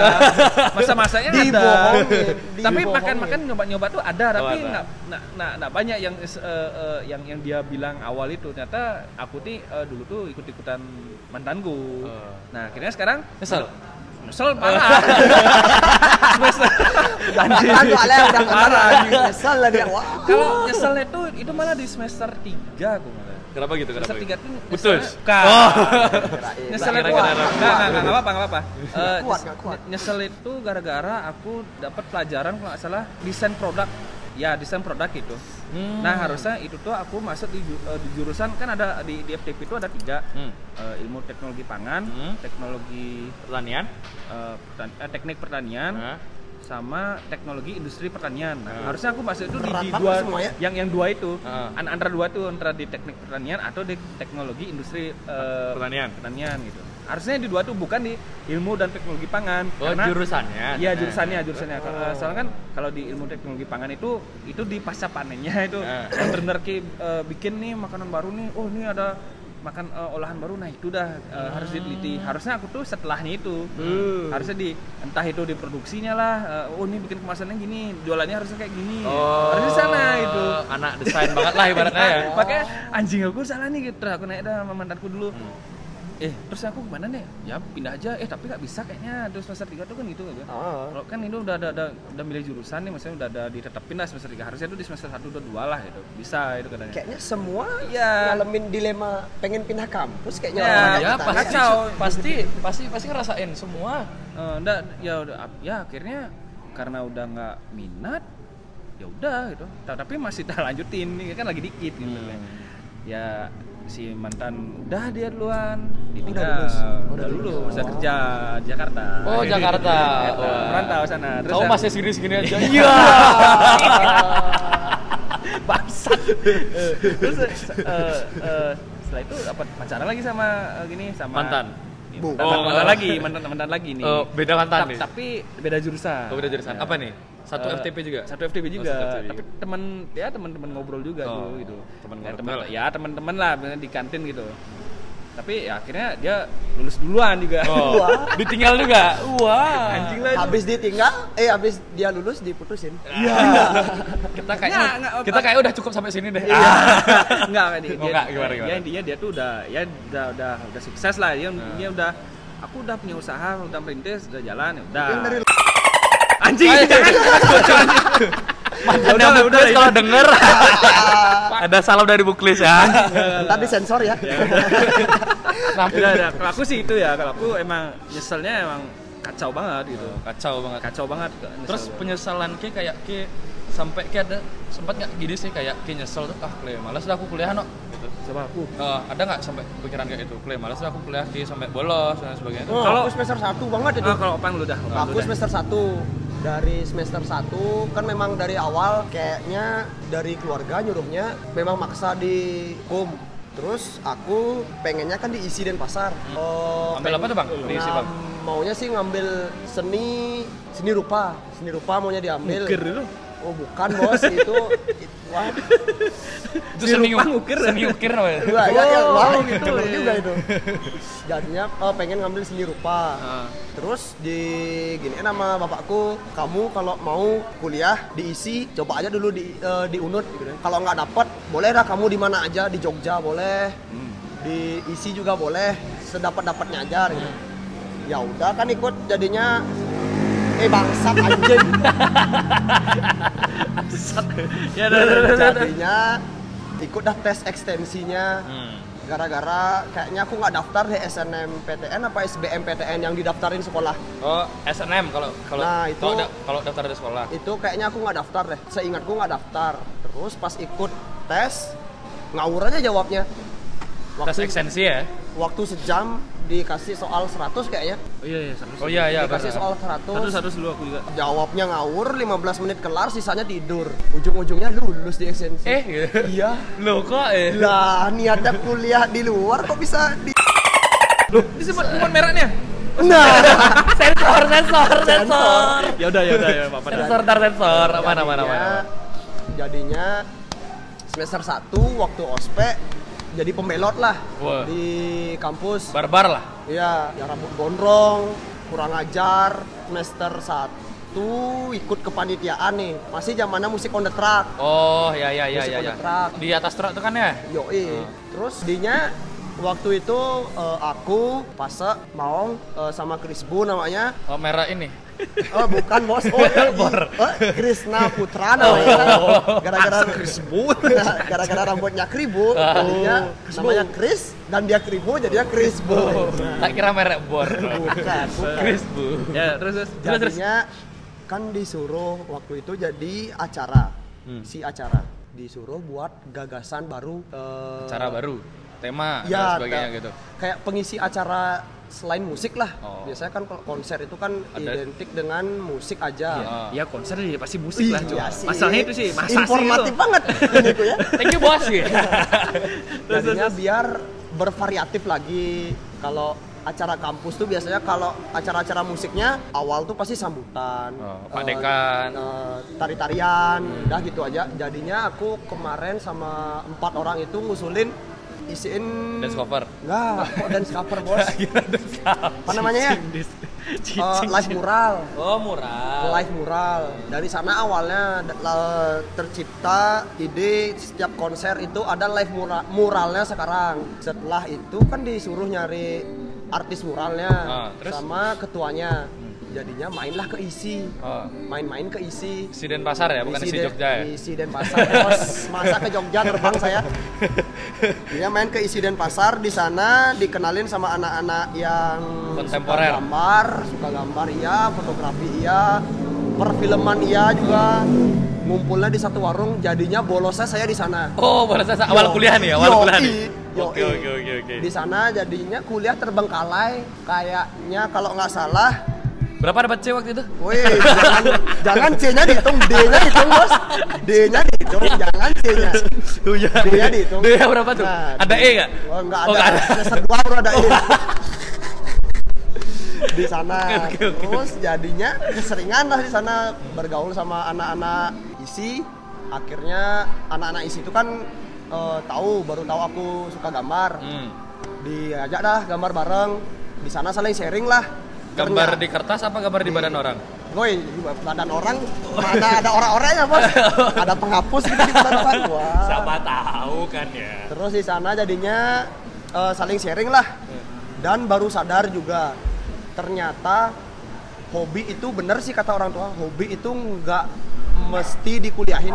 Speaker 2: Masa-masanya nggak ada.
Speaker 3: Dibohongin,
Speaker 2: tapi
Speaker 3: dibohongin.
Speaker 2: makan-makan nyoba-nyoba tuh ada, tapi
Speaker 1: Oh, ada.
Speaker 2: nggak nah, nah, nah, banyak yang eh, eh, yang yang dia bilang awal itu ternyata aku nih eh, dulu tuh ikut-ikutan mantanku.
Speaker 1: Oh.
Speaker 2: Nah, akhirnya sekarang
Speaker 1: Nyesel.
Speaker 2: Nyesel parah. Semester. Anjir.
Speaker 3: Kan soalnya udah kemana
Speaker 2: Parah.
Speaker 3: lagi. Nyesel iya. lah dia. Wah.
Speaker 2: Kalau nyeselnya itu itu malah di semester 3 aku malah.
Speaker 1: Kenapa gitu? Kenapa?
Speaker 2: Semester 3
Speaker 1: gitu?
Speaker 2: tuh
Speaker 1: Putus.
Speaker 2: Bukan.
Speaker 3: Oh. Kirain.
Speaker 2: Nyeselnya
Speaker 1: Kira-kira
Speaker 2: kuat.
Speaker 1: kenapa?
Speaker 2: Enggak, enggak, enggak apa-apa, enggak apa. Eh,
Speaker 3: kuat, nggak kuat.
Speaker 2: Nyesel itu gara-gara aku dapat pelajaran kalau nggak salah desain produk. Ya, desain produk itu.
Speaker 1: Hmm.
Speaker 2: Nah, harusnya itu tuh aku masuk di, ju- eh, di jurusan kan ada di, di FTP itu ada tiga.
Speaker 1: Hmm.
Speaker 2: Eh, ilmu teknologi pangan,
Speaker 1: Hmm.
Speaker 2: teknologi
Speaker 1: Pertanian.
Speaker 2: eh, pertan- eh, teknik pertanian
Speaker 1: Hah?
Speaker 2: sama teknologi industri pertanian. Nah,
Speaker 1: Nah.
Speaker 2: Harusnya aku masuk itu di,
Speaker 3: Berat
Speaker 2: di
Speaker 3: banget
Speaker 2: dua
Speaker 3: semua ya.
Speaker 2: yang yang dua itu.
Speaker 1: Ah.
Speaker 2: An- antara dua tuh antara di teknik pertanian atau di teknologi industri eh,
Speaker 1: Pertanian.
Speaker 2: pertanian gitu. Harusnya di dua tuh bukan di ilmu dan teknologi pangan.
Speaker 1: Oh,
Speaker 2: karena-
Speaker 1: jurusannya.
Speaker 2: Iya jurusannya jurusannya. Eh,
Speaker 1: Oh.
Speaker 2: Soalnya kan kalau di ilmu teknologi pangan itu itu di pasca panennya itu
Speaker 1: Nah.
Speaker 2: yang benar ki eh, bikin nih makanan baru nih. Oh ini ada makan eh, olahan baru nah itu dah eh,
Speaker 1: Hmm.
Speaker 2: harus diteliti harusnya aku tuh setelahnya itu harusnya di entah itu di produksinya lah eh, oh ini bikin kemasannya gini jualannya harusnya kayak gini harusnya sana gitu. itu
Speaker 1: Oh. Anak desain banget lah ibaratnya ya.
Speaker 2: pakai anjing aku salah nih gitu Terus aku naik dah sama mantanku dulu
Speaker 1: Hmm.
Speaker 2: eh terus aku gimana nih ya pindah aja eh tapi nggak bisa kayaknya terus semester 3 tuh kan gitu kan
Speaker 3: Ah.
Speaker 2: kalau kan ini udah ada udah, udah milih jurusan nih maksudnya udah ada ditetapin lah semester 3 harusnya tuh di semester 1 udah 2 lah gitu bisa itu katanya
Speaker 3: Kayaknya semua
Speaker 2: Iya.
Speaker 3: ngalamin dilema pengen pindah kampus kayaknya
Speaker 2: Ya,
Speaker 3: orang-orang
Speaker 1: Ya
Speaker 3: pertanian.
Speaker 1: pasti pasti pasti pasti ngerasain semua.
Speaker 2: Eh, nggak, ya udah ap- ya akhirnya karena udah nggak minat ya udah gitu Ta- tapi masih tak lanjutin ini kan lagi dikit gitu ya. ya si mantan udah dia duluan ditinggal udah
Speaker 3: lulus.
Speaker 2: lulus udah,
Speaker 3: Udah lulus.
Speaker 2: kerja Jakarta
Speaker 1: Oh, Jakarta.
Speaker 2: Jakarta.
Speaker 1: Wah.
Speaker 2: merantau sana
Speaker 1: Kamu
Speaker 2: ya-
Speaker 1: masih segini-segini aja. Iya.
Speaker 2: bangsat terus eh, eh, eh, setelah itu dapat pacaran lagi sama eh, gini sama
Speaker 1: Mantan?
Speaker 2: Iya,
Speaker 3: Bu.
Speaker 2: mantan,
Speaker 1: Oh.
Speaker 2: mantan lagi mantan mantan lagi nih
Speaker 1: Eh, beda mantan
Speaker 2: Ta-
Speaker 1: nih?
Speaker 2: tapi beda jurusan
Speaker 1: Oh, beda jurusan.
Speaker 2: Ya.
Speaker 1: Apa nih? Satu
Speaker 2: Eh,
Speaker 1: FTP juga?
Speaker 2: satu FTP juga
Speaker 1: Oh, satu FTP
Speaker 2: tapi teman ya teman-teman ngobrol juga
Speaker 1: Oh,
Speaker 2: dulu gitu
Speaker 1: teman
Speaker 2: ya,
Speaker 1: ngobrol
Speaker 2: teman
Speaker 1: lah.
Speaker 2: ya teman-teman lah misalnya di kantin gitu tapi ya, akhirnya dia lulus duluan juga
Speaker 1: Oh, ditinggal juga. Wah.
Speaker 2: anjing lah itu.
Speaker 3: Habis ditinggal, eh habis dia lulus diputusin.
Speaker 1: Kita kayaknya
Speaker 2: Nggak, Iya. nggak,
Speaker 1: kita kayak udah cukup sampai sini deh. Ah.
Speaker 2: enggak kan dia,
Speaker 1: Oh, enggak, gimana,
Speaker 2: dia-
Speaker 1: gimana?
Speaker 2: dia intinya dia tuh udah ya udah udah udah sukses lah dia dia udah aku udah punya usaha udah merintis udah jalan ya udah
Speaker 3: Yang dari
Speaker 2: anjing
Speaker 1: Ayo,
Speaker 2: jangan
Speaker 1: Mantannya
Speaker 2: Udah, iya.
Speaker 1: Buklis
Speaker 2: udah,
Speaker 1: kalau denger. Ada salam dari Buklis ya.
Speaker 3: tadi sensor ya.
Speaker 1: Nah,
Speaker 2: udah udah kalau aku sih itu ya kalau aku emang nyeselnya emang kacau banget gitu
Speaker 1: kacau banget.
Speaker 2: kacau banget nyesel
Speaker 1: Terus
Speaker 2: banget.
Speaker 1: penyesalan Ki kayak Ki sampai Ki ada sempat nggak gini sih kayak Ki nyesel tuh ah Kle malas dah aku kuliah no gitu.
Speaker 2: sama aku
Speaker 1: Eh, ada nggak sampai pikiran kayak itu Kle malas dah aku kuliah Ki sampai bolos dan sebagainya.
Speaker 3: Oh,
Speaker 2: Kalau-
Speaker 3: aku semester 1 banget itu.
Speaker 2: Ah, kalau opang lu dah Opang
Speaker 3: Aku
Speaker 2: lu dah.
Speaker 3: semester 1 dari semester 1 kan memang dari awal kayaknya dari keluarga nyuruhnya memang maksa di hukum. Terus aku pengennya kan di isi Denpasar.
Speaker 1: Hmm.
Speaker 3: Oh,
Speaker 1: Ambil apa tuh, Bang? Di ISI, Bang?
Speaker 3: ngam- Maunya sih ngambil seni seni rupa. Seni rupa maunya diambil.
Speaker 2: Ngukir dulu
Speaker 3: Oh, bukan, Bos. itu it- wah.
Speaker 1: Itu
Speaker 2: di
Speaker 1: seni ukir,
Speaker 2: rumah ngukir.
Speaker 1: seni ukir namanya.
Speaker 3: Wah, ya, ya,
Speaker 2: Oh,
Speaker 3: wow,
Speaker 2: gitu,
Speaker 3: bener
Speaker 2: iya.
Speaker 3: juga itu. Jadinya oh, pengen ngambil seni rupa.
Speaker 1: Ah.
Speaker 3: Terus di gini nama bapakku, kamu kalau mau kuliah diisi, coba aja dulu di eh, di Unut gitu. Kalau nggak dapat, boleh lah kamu di mana aja, di Jogja boleh, di isi juga boleh, sedapat dapatnya aja. Gitu. Ya udah kan ikut jadinya eh bangsat anjing
Speaker 2: ya udah, udah, udah, udah.
Speaker 3: jadinya ikut dah tes ekstensinya
Speaker 2: Hmm.
Speaker 3: gara-gara kayaknya aku nggak daftar di SNMPTN apa SBMPTN yang didaftarin sekolah
Speaker 1: Oh, SNM kalau kalau
Speaker 3: Nah, itu-
Speaker 1: kalau da- kalau daftar dari sekolah.
Speaker 3: itu kayaknya aku nggak daftar deh seingatku nggak daftar terus pas ikut tes ngawur aja jawabnya
Speaker 1: Tes
Speaker 3: waktu,
Speaker 1: ekstensi ya.
Speaker 3: waktu sejam dikasih soal 100 kayaknya
Speaker 2: Oh iya iya satu.
Speaker 1: Oh iya iya.
Speaker 3: dikasih
Speaker 1: benar.
Speaker 3: soal
Speaker 2: Satu
Speaker 3: 100
Speaker 2: satu dulu aku juga.
Speaker 3: jawabnya ngawur 15 menit kelar sisanya tidur ujung-ujungnya lulus di ekstensi
Speaker 1: Eh, gitu.
Speaker 3: iya
Speaker 1: Loh kok eh.
Speaker 3: lah niatnya kuliah di luar kok bisa di
Speaker 2: Loh, disebut semut merahnya.
Speaker 3: nah
Speaker 1: sensor, sensor, sensor.
Speaker 2: Ya udah ya udah ya apa
Speaker 1: Sensor, tar sensor. Mana mana
Speaker 3: Jadinya-
Speaker 1: mana.
Speaker 3: Jadinya semester 1 waktu ospek jadi pembelot lah
Speaker 1: Wah.
Speaker 3: di kampus.
Speaker 1: Barbar lah.
Speaker 3: Iya, ya rambut gondrong, kurang ajar. Semester 1 ikut kepanitiaan nih. Masih zamannya musik on the track.
Speaker 1: Oh, ya ya ya
Speaker 3: Musik
Speaker 1: ya
Speaker 3: on
Speaker 1: ya.
Speaker 3: the track.
Speaker 1: Di atas truk itu kan ya?
Speaker 3: Yoi. Terus dinya waktu itu eh, aku, Pasek, Maong eh, sama Krisbu namanya.
Speaker 1: Oh, merah ini.
Speaker 3: Oh, bukan bos. Oh, iya. Eh, Krisna
Speaker 1: Oh.
Speaker 3: Putra namanya. Gara-gara Krisbu. Gara-gara rambutnya kribo, tadinya
Speaker 1: Oh.
Speaker 3: namanya Kris dan dia kribo jadinya Krisbu.
Speaker 1: Tak kira merek bor.
Speaker 3: Bukan, bukan.
Speaker 1: Chris Bu.
Speaker 2: Ya terus terus terus terus.
Speaker 3: Jadinya kan disuruh waktu itu jadi acara.
Speaker 1: Hmm.
Speaker 3: Si acara disuruh buat gagasan baru eh,
Speaker 1: Cara baru, tema dan
Speaker 3: ya
Speaker 1: sebagainya
Speaker 3: ta-
Speaker 1: gitu.
Speaker 3: kayak pengisi acara selain musik lah
Speaker 1: Oh.
Speaker 3: biasanya kan kalau konser itu kan
Speaker 1: Ada-
Speaker 3: identik dengan musik aja
Speaker 1: Ah.
Speaker 2: Ya konser ya pasti musik lah.
Speaker 3: Iya
Speaker 2: cuma.
Speaker 3: sih.
Speaker 2: Masalahnya itu sih, masa
Speaker 3: informatif
Speaker 2: sih itu.
Speaker 3: banget ini ku ya
Speaker 1: Thank you bos. gitu.
Speaker 3: jadinya biar bervariatif lagi kalau acara kampus tuh biasanya kalau acara-acara musiknya awal tuh pasti sambutan
Speaker 1: Oh,
Speaker 3: eh,
Speaker 1: Pak Dekan.
Speaker 3: eh, tari-tarian udah gitu aja jadinya aku kemarin sama empat orang itu ngusulin isiin
Speaker 1: Dance cover.
Speaker 3: Nah, kok dance cover bos? Apa namanya ya?
Speaker 2: Cicing dis-
Speaker 3: Eh,
Speaker 2: cicing.
Speaker 3: live mural.
Speaker 1: Oh, murah.
Speaker 3: Live mural. Dari sana awalnya d- la- tercipta ide setiap konser itu ada live mura- muralnya sekarang. Setelah itu kan disuruh nyari artis muralnya
Speaker 1: Ah, terus?
Speaker 3: sama ketuanya. Jadinya mainlah ke isi.
Speaker 1: Oh.
Speaker 3: Main-main ke isi.
Speaker 1: Si Denpasar ya, bukan si
Speaker 3: Den-
Speaker 1: Jogja ya.
Speaker 3: Isi Denpasar, bos. Masa ke Jogja terbang saya. Dia main ke isi Denpasar di sana dikenalin sama anak-anak yang
Speaker 1: Kontemporer.
Speaker 3: suka gambar, suka gambar iya, fotografi iya, perfilman iya juga. Ngumpulnya di satu warung, jadinya bolosnya saya di sana.
Speaker 1: Oh, baru saya awal
Speaker 3: Yo-
Speaker 1: kuliah nih, awal
Speaker 3: yoi,
Speaker 1: kuliah nih.
Speaker 3: yoi.
Speaker 1: Oke, oke, oke, oke.
Speaker 3: Di sana jadinya kuliah terbengkalai, kayaknya kalau nggak salah
Speaker 1: Berapa dapat C waktu itu?
Speaker 3: Woi, jangan, jangan C-nya dihitung, D-nya dihitung bos. D-nya dihitung, jangan C-nya. D-nya dihitung.
Speaker 1: D-nya berapa ya, tuh? Ada E nggak?
Speaker 3: Oh, enggak ada.
Speaker 1: Oh, nggak ada.
Speaker 3: Semester 2 baru ada E. di sana. Terus jadinya keseringan lah di sana bergaul sama anak-anak isi. Akhirnya anak-anak isi itu kan eh, tahu, baru tahu aku suka gambar.
Speaker 1: Hmm.
Speaker 3: Diajak dah gambar bareng. Di sana saling sharing lah.
Speaker 1: Gambar
Speaker 3: Ternyata-
Speaker 1: di kertas apa gambar di badan orang?
Speaker 3: Woi, badan orang mana ada orang-orangnya bos? Ada penghapus gitu di badan orang. Wah.
Speaker 1: tahu kan ya.
Speaker 3: Terus di sana jadinya eh, saling sharing lah. Dan baru sadar juga ternyata hobi itu bener sih kata orang tua. Hobi itu nggak mesti dikuliahin.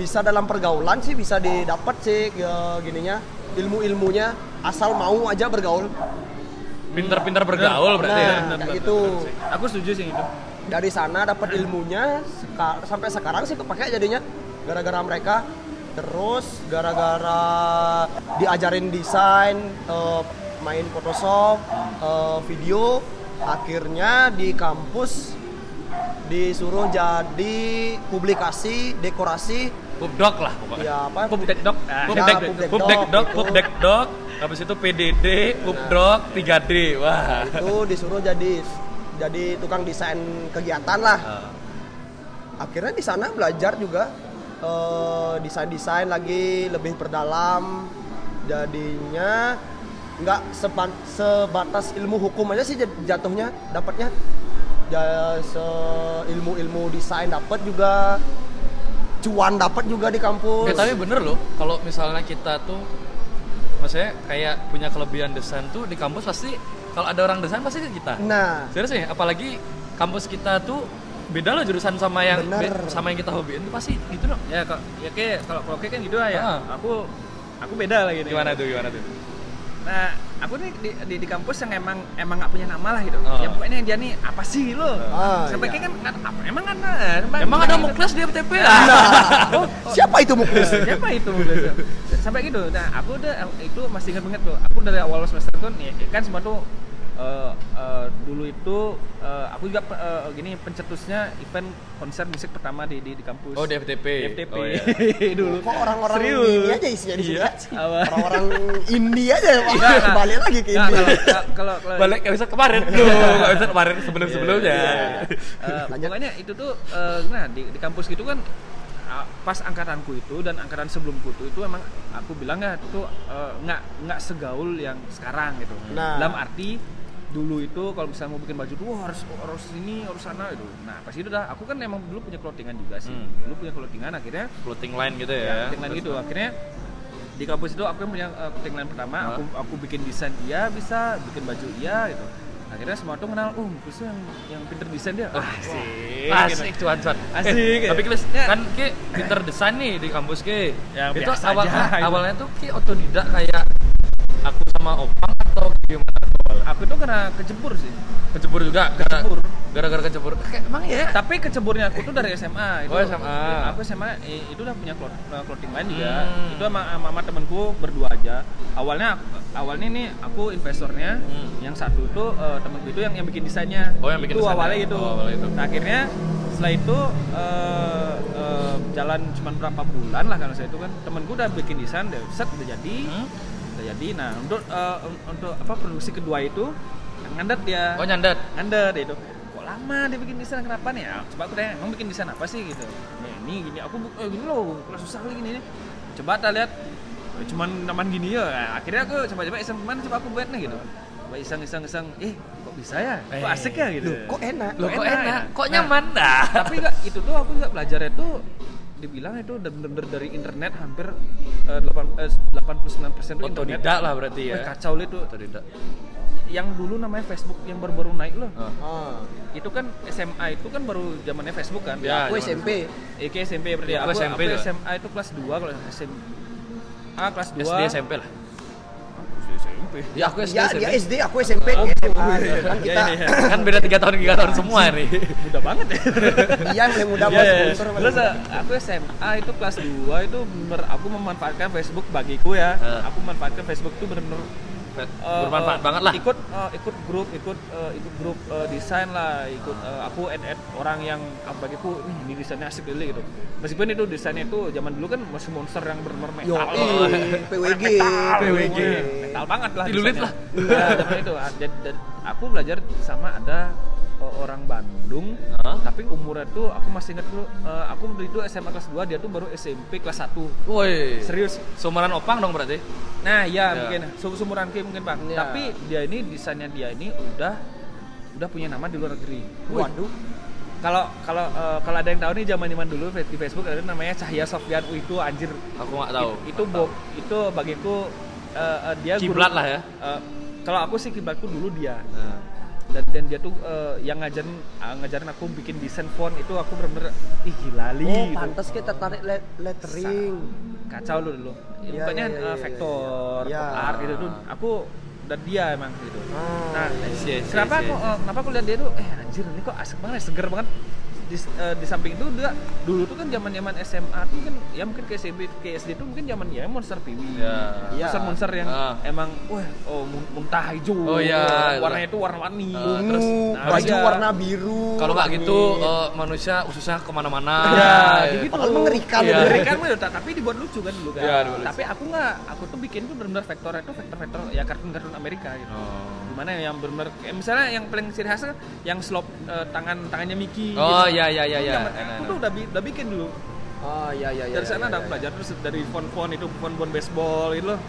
Speaker 3: Bisa dalam pergaulan sih bisa didapat sih eh, gininya ilmu-ilmunya asal mau aja bergaul.
Speaker 1: Pinter-pinter bergaul berarti ya.
Speaker 3: Nah, kayak gitu.
Speaker 2: Aku setuju sih itu.
Speaker 3: dari sana dapat ilmunya seka- sampai sekarang sih kepake jadinya gara-gara mereka terus gara-gara diajarin desain eh, main Photoshop eh, video akhirnya di kampus disuruh jadi publikasi dekorasi
Speaker 1: Pubdok lah pokoknya.
Speaker 3: ya apa
Speaker 2: Pubdekdok. Ah,
Speaker 3: Pub-
Speaker 1: Pubdek,
Speaker 3: Pubdekdok,
Speaker 1: pubdekdok,
Speaker 3: gitu.
Speaker 1: pubdekdok, habis itu PDD, pubdok, 3D, wah.
Speaker 3: itu disuruh jadi jadi tukang desain kegiatan lah akhirnya di sana belajar juga desain desain lagi lebih perdalam jadinya nggak seban- sebatas ilmu hukum aja sih jat- jatuhnya dapatnya ya ilmu ilmu desain dapat juga cuan dapat juga di kampus
Speaker 1: Oke, Eh, Ya, tapi bener loh, kalau misalnya kita tuh, maksudnya kayak punya kelebihan desain tuh di kampus pasti kalau ada orang desain pasti ke kita.
Speaker 3: nah
Speaker 1: Serius nih, apalagi kampus kita tuh beda loh jurusan sama yang
Speaker 3: Bener.
Speaker 1: be- sama yang kita hobiin tuh pasti gitu loh.
Speaker 2: ya kok ya kayak kalau kalau kayak kan gitu lah ya
Speaker 1: Ah.
Speaker 2: aku aku beda lagi nih
Speaker 1: Gimana tuh? Gimana tuh?
Speaker 2: nah aku nih di, di, di kampus yang emang emang nggak punya nama lah gitu
Speaker 1: Oh.
Speaker 2: ya pokoknya dia nih apa sih lo
Speaker 3: Ah,
Speaker 2: sampai
Speaker 3: iya.
Speaker 2: kayak kan nggak- apa emang kan nah,
Speaker 1: Emang ada mau kelas di FTP ya?
Speaker 3: Oh, siapa itu Muklis?
Speaker 2: Eh, siapa itu Mulya? sampai gitu nah aku udah itu masih ingat banget tuh aku dari awal semester tuh ya, kan semua tuh eh, eh, dulu itu eh, aku juga eh, gini pencetusnya event konser musik pertama di di, di kampus
Speaker 1: Oh, di FTP.
Speaker 2: FTP
Speaker 1: Oh, iya.
Speaker 2: dulu
Speaker 3: Kok
Speaker 2: Nah,
Speaker 3: orang-orang
Speaker 2: Serius.
Speaker 3: ini aja ya? isinya di sini?
Speaker 1: Iya.
Speaker 3: aja?
Speaker 2: Apa?
Speaker 3: Orang-orang India aja
Speaker 2: Nggak, nggak.
Speaker 3: balik lagi ke
Speaker 2: Nggak,
Speaker 3: India.
Speaker 2: kalau- kalau kalau
Speaker 1: Balik ke episode kemarin tuh, ke episode kemarin sebelum-sebelumnya.
Speaker 2: Eh,
Speaker 3: Iya, Lanjut.
Speaker 2: pokoknya itu tuh eh, nah di, di kampus gitu kan ah, pas angkatanku itu dan angkatan sebelumku itu itu emang aku bilang nggak tuh eh, nggak nggak segaul yang sekarang gitu
Speaker 3: Nah.
Speaker 2: dalam arti dulu itu kalau misalnya mau bikin baju tuh wah, harus harus ini harus sana itu nah pas itu dah aku kan emang dulu punya clothingan juga sih
Speaker 1: Hmm.
Speaker 2: dulu punya clothingan akhirnya
Speaker 1: Floating line gitu
Speaker 2: ya,
Speaker 1: ya.
Speaker 2: clothingan gitu akhirnya di kampus itu aku yang punya uh, clothing line pertama
Speaker 1: Hah?
Speaker 2: aku aku bikin desain dia bisa bikin baju iya gitu akhirnya semua tuh kenal um itu yang yang pinter desain dia
Speaker 1: Oh,
Speaker 2: Ah,
Speaker 1: iya. Asik. Asik cuan-cuan.
Speaker 2: Asik,
Speaker 1: Eh,
Speaker 2: ya.
Speaker 1: Tapi Klis,
Speaker 2: Ya.
Speaker 1: kan Ki pinter desain nih di kampus Ki.
Speaker 2: Ya,
Speaker 1: itu
Speaker 2: biasa
Speaker 1: awalnya
Speaker 2: aja.
Speaker 1: awalnya tuh Ki otodidak kayak aku sama Opang atau gimana tuh awalnya?
Speaker 2: aku tuh kena kecebur sih
Speaker 1: Kecebur juga. gara-
Speaker 2: Kecebur.
Speaker 1: Gara-gara kecebur. Kayak emang ya?
Speaker 2: Iya. tapi keceburnya aku tuh dari SMA itu
Speaker 1: Oh, SMA.
Speaker 2: aku SMA eh, itu udah punya cloth- eh, clothing line juga
Speaker 1: Hmm.
Speaker 2: itu sama sama sama temenku berdua aja awalnya aku- awalnya nih aku investornya
Speaker 1: Hmm.
Speaker 2: yang satu tuh eh, temenku itu yang yang bikin desainnya
Speaker 1: Oh, yang bikin
Speaker 2: itu
Speaker 1: desainnya.
Speaker 2: awalnya itu.
Speaker 1: Oh, awalnya itu.
Speaker 2: Nah, akhirnya setelah itu eh, eh, jalan cuman berapa bulan lah kalau saya itu kan temenku udah bikin desain deh set udah jadi
Speaker 1: Hmm?
Speaker 2: udah jadi nah untuk eh, un- untuk apa produksi kedua itu ya. ngandet dia
Speaker 1: Oh nyandat.
Speaker 2: Anda deh itu kok lama dia bikin desain kenapa nih ya, coba aku tanya emang bikin desain apa sih gitu "Nih, ini gini aku bu- eh, gini loh kurang susah kali gini ini coba kita lihat "Eh, cuman naman gini ya Nah, akhirnya aku coba-coba iseng kemana coba aku buat nih gitu coba iseng iseng iseng eh kok bisa ya kok
Speaker 1: Eh,
Speaker 2: asik ya gitu
Speaker 3: Loh, kok enak?
Speaker 1: Loh kok
Speaker 2: enak,
Speaker 1: enak?
Speaker 2: ya?
Speaker 1: Kok
Speaker 2: Nah,
Speaker 1: nyaman dah?
Speaker 2: tapi nggak, itu tuh aku juga belajarnya tuh dibilang itu udah bener-bener dari internet hampir eh, delapan eh, 89% itu internet
Speaker 1: Otodidak lah berarti ya.
Speaker 2: Wih, kacau lah itu
Speaker 1: Otodidak.
Speaker 2: yang dulu namanya Facebook yang baru-baru naik loh
Speaker 1: Oh.
Speaker 3: Ah.
Speaker 2: itu kan SMA itu kan baru zamannya Facebook kan
Speaker 1: Ya,
Speaker 3: Aku
Speaker 1: zaman
Speaker 3: SMP.
Speaker 2: Iki SMP berarti
Speaker 1: Iya,
Speaker 2: aku,
Speaker 1: aku SMP
Speaker 2: aku
Speaker 1: juga.
Speaker 2: SMA itu kelas 2 kalau SMA kelas 2
Speaker 1: SD SMP lah.
Speaker 2: SMP
Speaker 1: Ya aku SD
Speaker 3: Ya,
Speaker 1: SMP.
Speaker 3: dia SD, aku SMP,
Speaker 2: Oh,
Speaker 3: dia
Speaker 2: iya.
Speaker 3: SMA. Kan
Speaker 2: Iya,
Speaker 3: kita
Speaker 2: iya,
Speaker 1: kan beda 3 tahun 3 tahun semua nih.
Speaker 2: muda banget ya
Speaker 3: dia yang paling muda
Speaker 2: Iya,
Speaker 3: mas
Speaker 2: iya.
Speaker 3: sponsor paling
Speaker 2: Terus
Speaker 3: muda.
Speaker 2: eh, aku SMA itu kelas 2 itu bener aku memanfaatkan Facebook bagiku ya.
Speaker 1: Eh.
Speaker 2: Aku memanfaatkan Facebook itu bener-bener eh,
Speaker 1: Bermanfaat
Speaker 2: eh,
Speaker 1: banget lah.
Speaker 2: Ikut eh, ikut grup, ikut eh, ikut grup eh, desain lah, ikut eh, aku add add orang yang ah, bagiku "Ih, ini desainnya asik kali gitu. Meskipun itu desainnya itu zaman dulu kan masih monster yang bener-bener
Speaker 3: Yo,
Speaker 2: metal.
Speaker 3: ih, PWG,
Speaker 1: PWG.
Speaker 2: Metal banget lah.
Speaker 1: Dilulit
Speaker 2: desainnya.
Speaker 1: lah.
Speaker 2: Nah, zaman itu ah, dan, dan aku belajar sama ada eh, orang Bandung
Speaker 1: Hah?
Speaker 2: tapi umurnya tuh aku masih ingat dulu eh, aku waktu itu SMA kelas 2 dia tuh baru SMP kelas 1
Speaker 1: Woi.
Speaker 2: serius
Speaker 1: Sumeran opang dong berarti.
Speaker 2: nah ya
Speaker 1: Ya.
Speaker 2: mungkin sum- sumuran Ki mungkin bang
Speaker 1: Iya.
Speaker 3: Ya.
Speaker 2: tapi dia ini desainnya dia ini udah udah punya nama di luar negeri
Speaker 3: Waduh.
Speaker 2: kalau kalau eh, kalau ada yang tahu nih zaman zaman dulu di Facebook ada namanya Cahya Sofian Wih, itu anjir
Speaker 1: Aku nggak tahu.
Speaker 2: It- itu Bob itu bagiku eh, eh, dia guru-
Speaker 1: Kiblat lah ya.
Speaker 2: eh, kalau aku sih kiblatku dulu dia
Speaker 1: Nah.
Speaker 2: dan dan dia tuh eh, yang ngajarin ah, ngajarin aku bikin desain font itu aku bener-bener ih gila li
Speaker 3: Oh,
Speaker 2: gitu.
Speaker 3: pantas kita tarik le- lettering.
Speaker 2: kacau lu dulu ya,
Speaker 3: Iya,
Speaker 2: bukannya eh,
Speaker 3: iya, iya, iya,
Speaker 2: vektor
Speaker 3: iya.
Speaker 2: pop art gitu tuh aku dan dia emang gitu
Speaker 3: Ah.
Speaker 2: nah
Speaker 1: Iya, iya,
Speaker 2: kenapa
Speaker 1: iya,
Speaker 2: aku
Speaker 1: iya.
Speaker 2: eh, kenapa aku lihat dia tuh eh anjir ini kok asik banget ya, seger banget di, eh, di samping itu dia dulu tuh kan zaman zaman SMA tuh kan ya mungkin ke SMP ke SD tuh mungkin zaman ya monster piwi
Speaker 1: Iya.
Speaker 3: Iya.
Speaker 2: monster monster yang
Speaker 1: Ah.
Speaker 2: emang wah oh mun- muntah hijau
Speaker 1: Oh, iya.
Speaker 2: warnanya itu warna-warni
Speaker 1: Ah,
Speaker 3: Ungu,
Speaker 1: terus,
Speaker 2: nah,
Speaker 3: baju
Speaker 2: iya.
Speaker 3: warna biru.
Speaker 1: Kalau nggak gitu
Speaker 3: langit.
Speaker 1: eh, manusia ususnya kemana-mana.
Speaker 2: Iya,
Speaker 1: Ya.
Speaker 2: gitu.
Speaker 3: Padahal mengerikan.
Speaker 1: Iya.
Speaker 2: Mengerikan mah, ta- tapi dibuat lucu kan dulu kan.
Speaker 1: Iya, dibuat lucu.
Speaker 2: tapi aku nggak, aku tuh bikin tuh benar-benar vektornya tuh vektor-vektor ya kartun-kartun Amerika gitu.
Speaker 1: Oh.
Speaker 2: Gimana yang benar-benar kayak misalnya yang paling ciri khasnya yang slop eh, tangan tangannya Mickey. gitu.
Speaker 1: Oh, iya, iya, iya,
Speaker 2: Itu
Speaker 1: iya.
Speaker 2: zaman-
Speaker 1: Enak,
Speaker 2: Aku
Speaker 1: enak.
Speaker 2: tuh udah, bi- udah bikin dulu.
Speaker 3: Oh, iya iya iya.
Speaker 2: Dari sana
Speaker 3: iya,
Speaker 2: udah
Speaker 3: iya.
Speaker 2: aku belajar terus dari font-font itu font-font baseball gitu loh.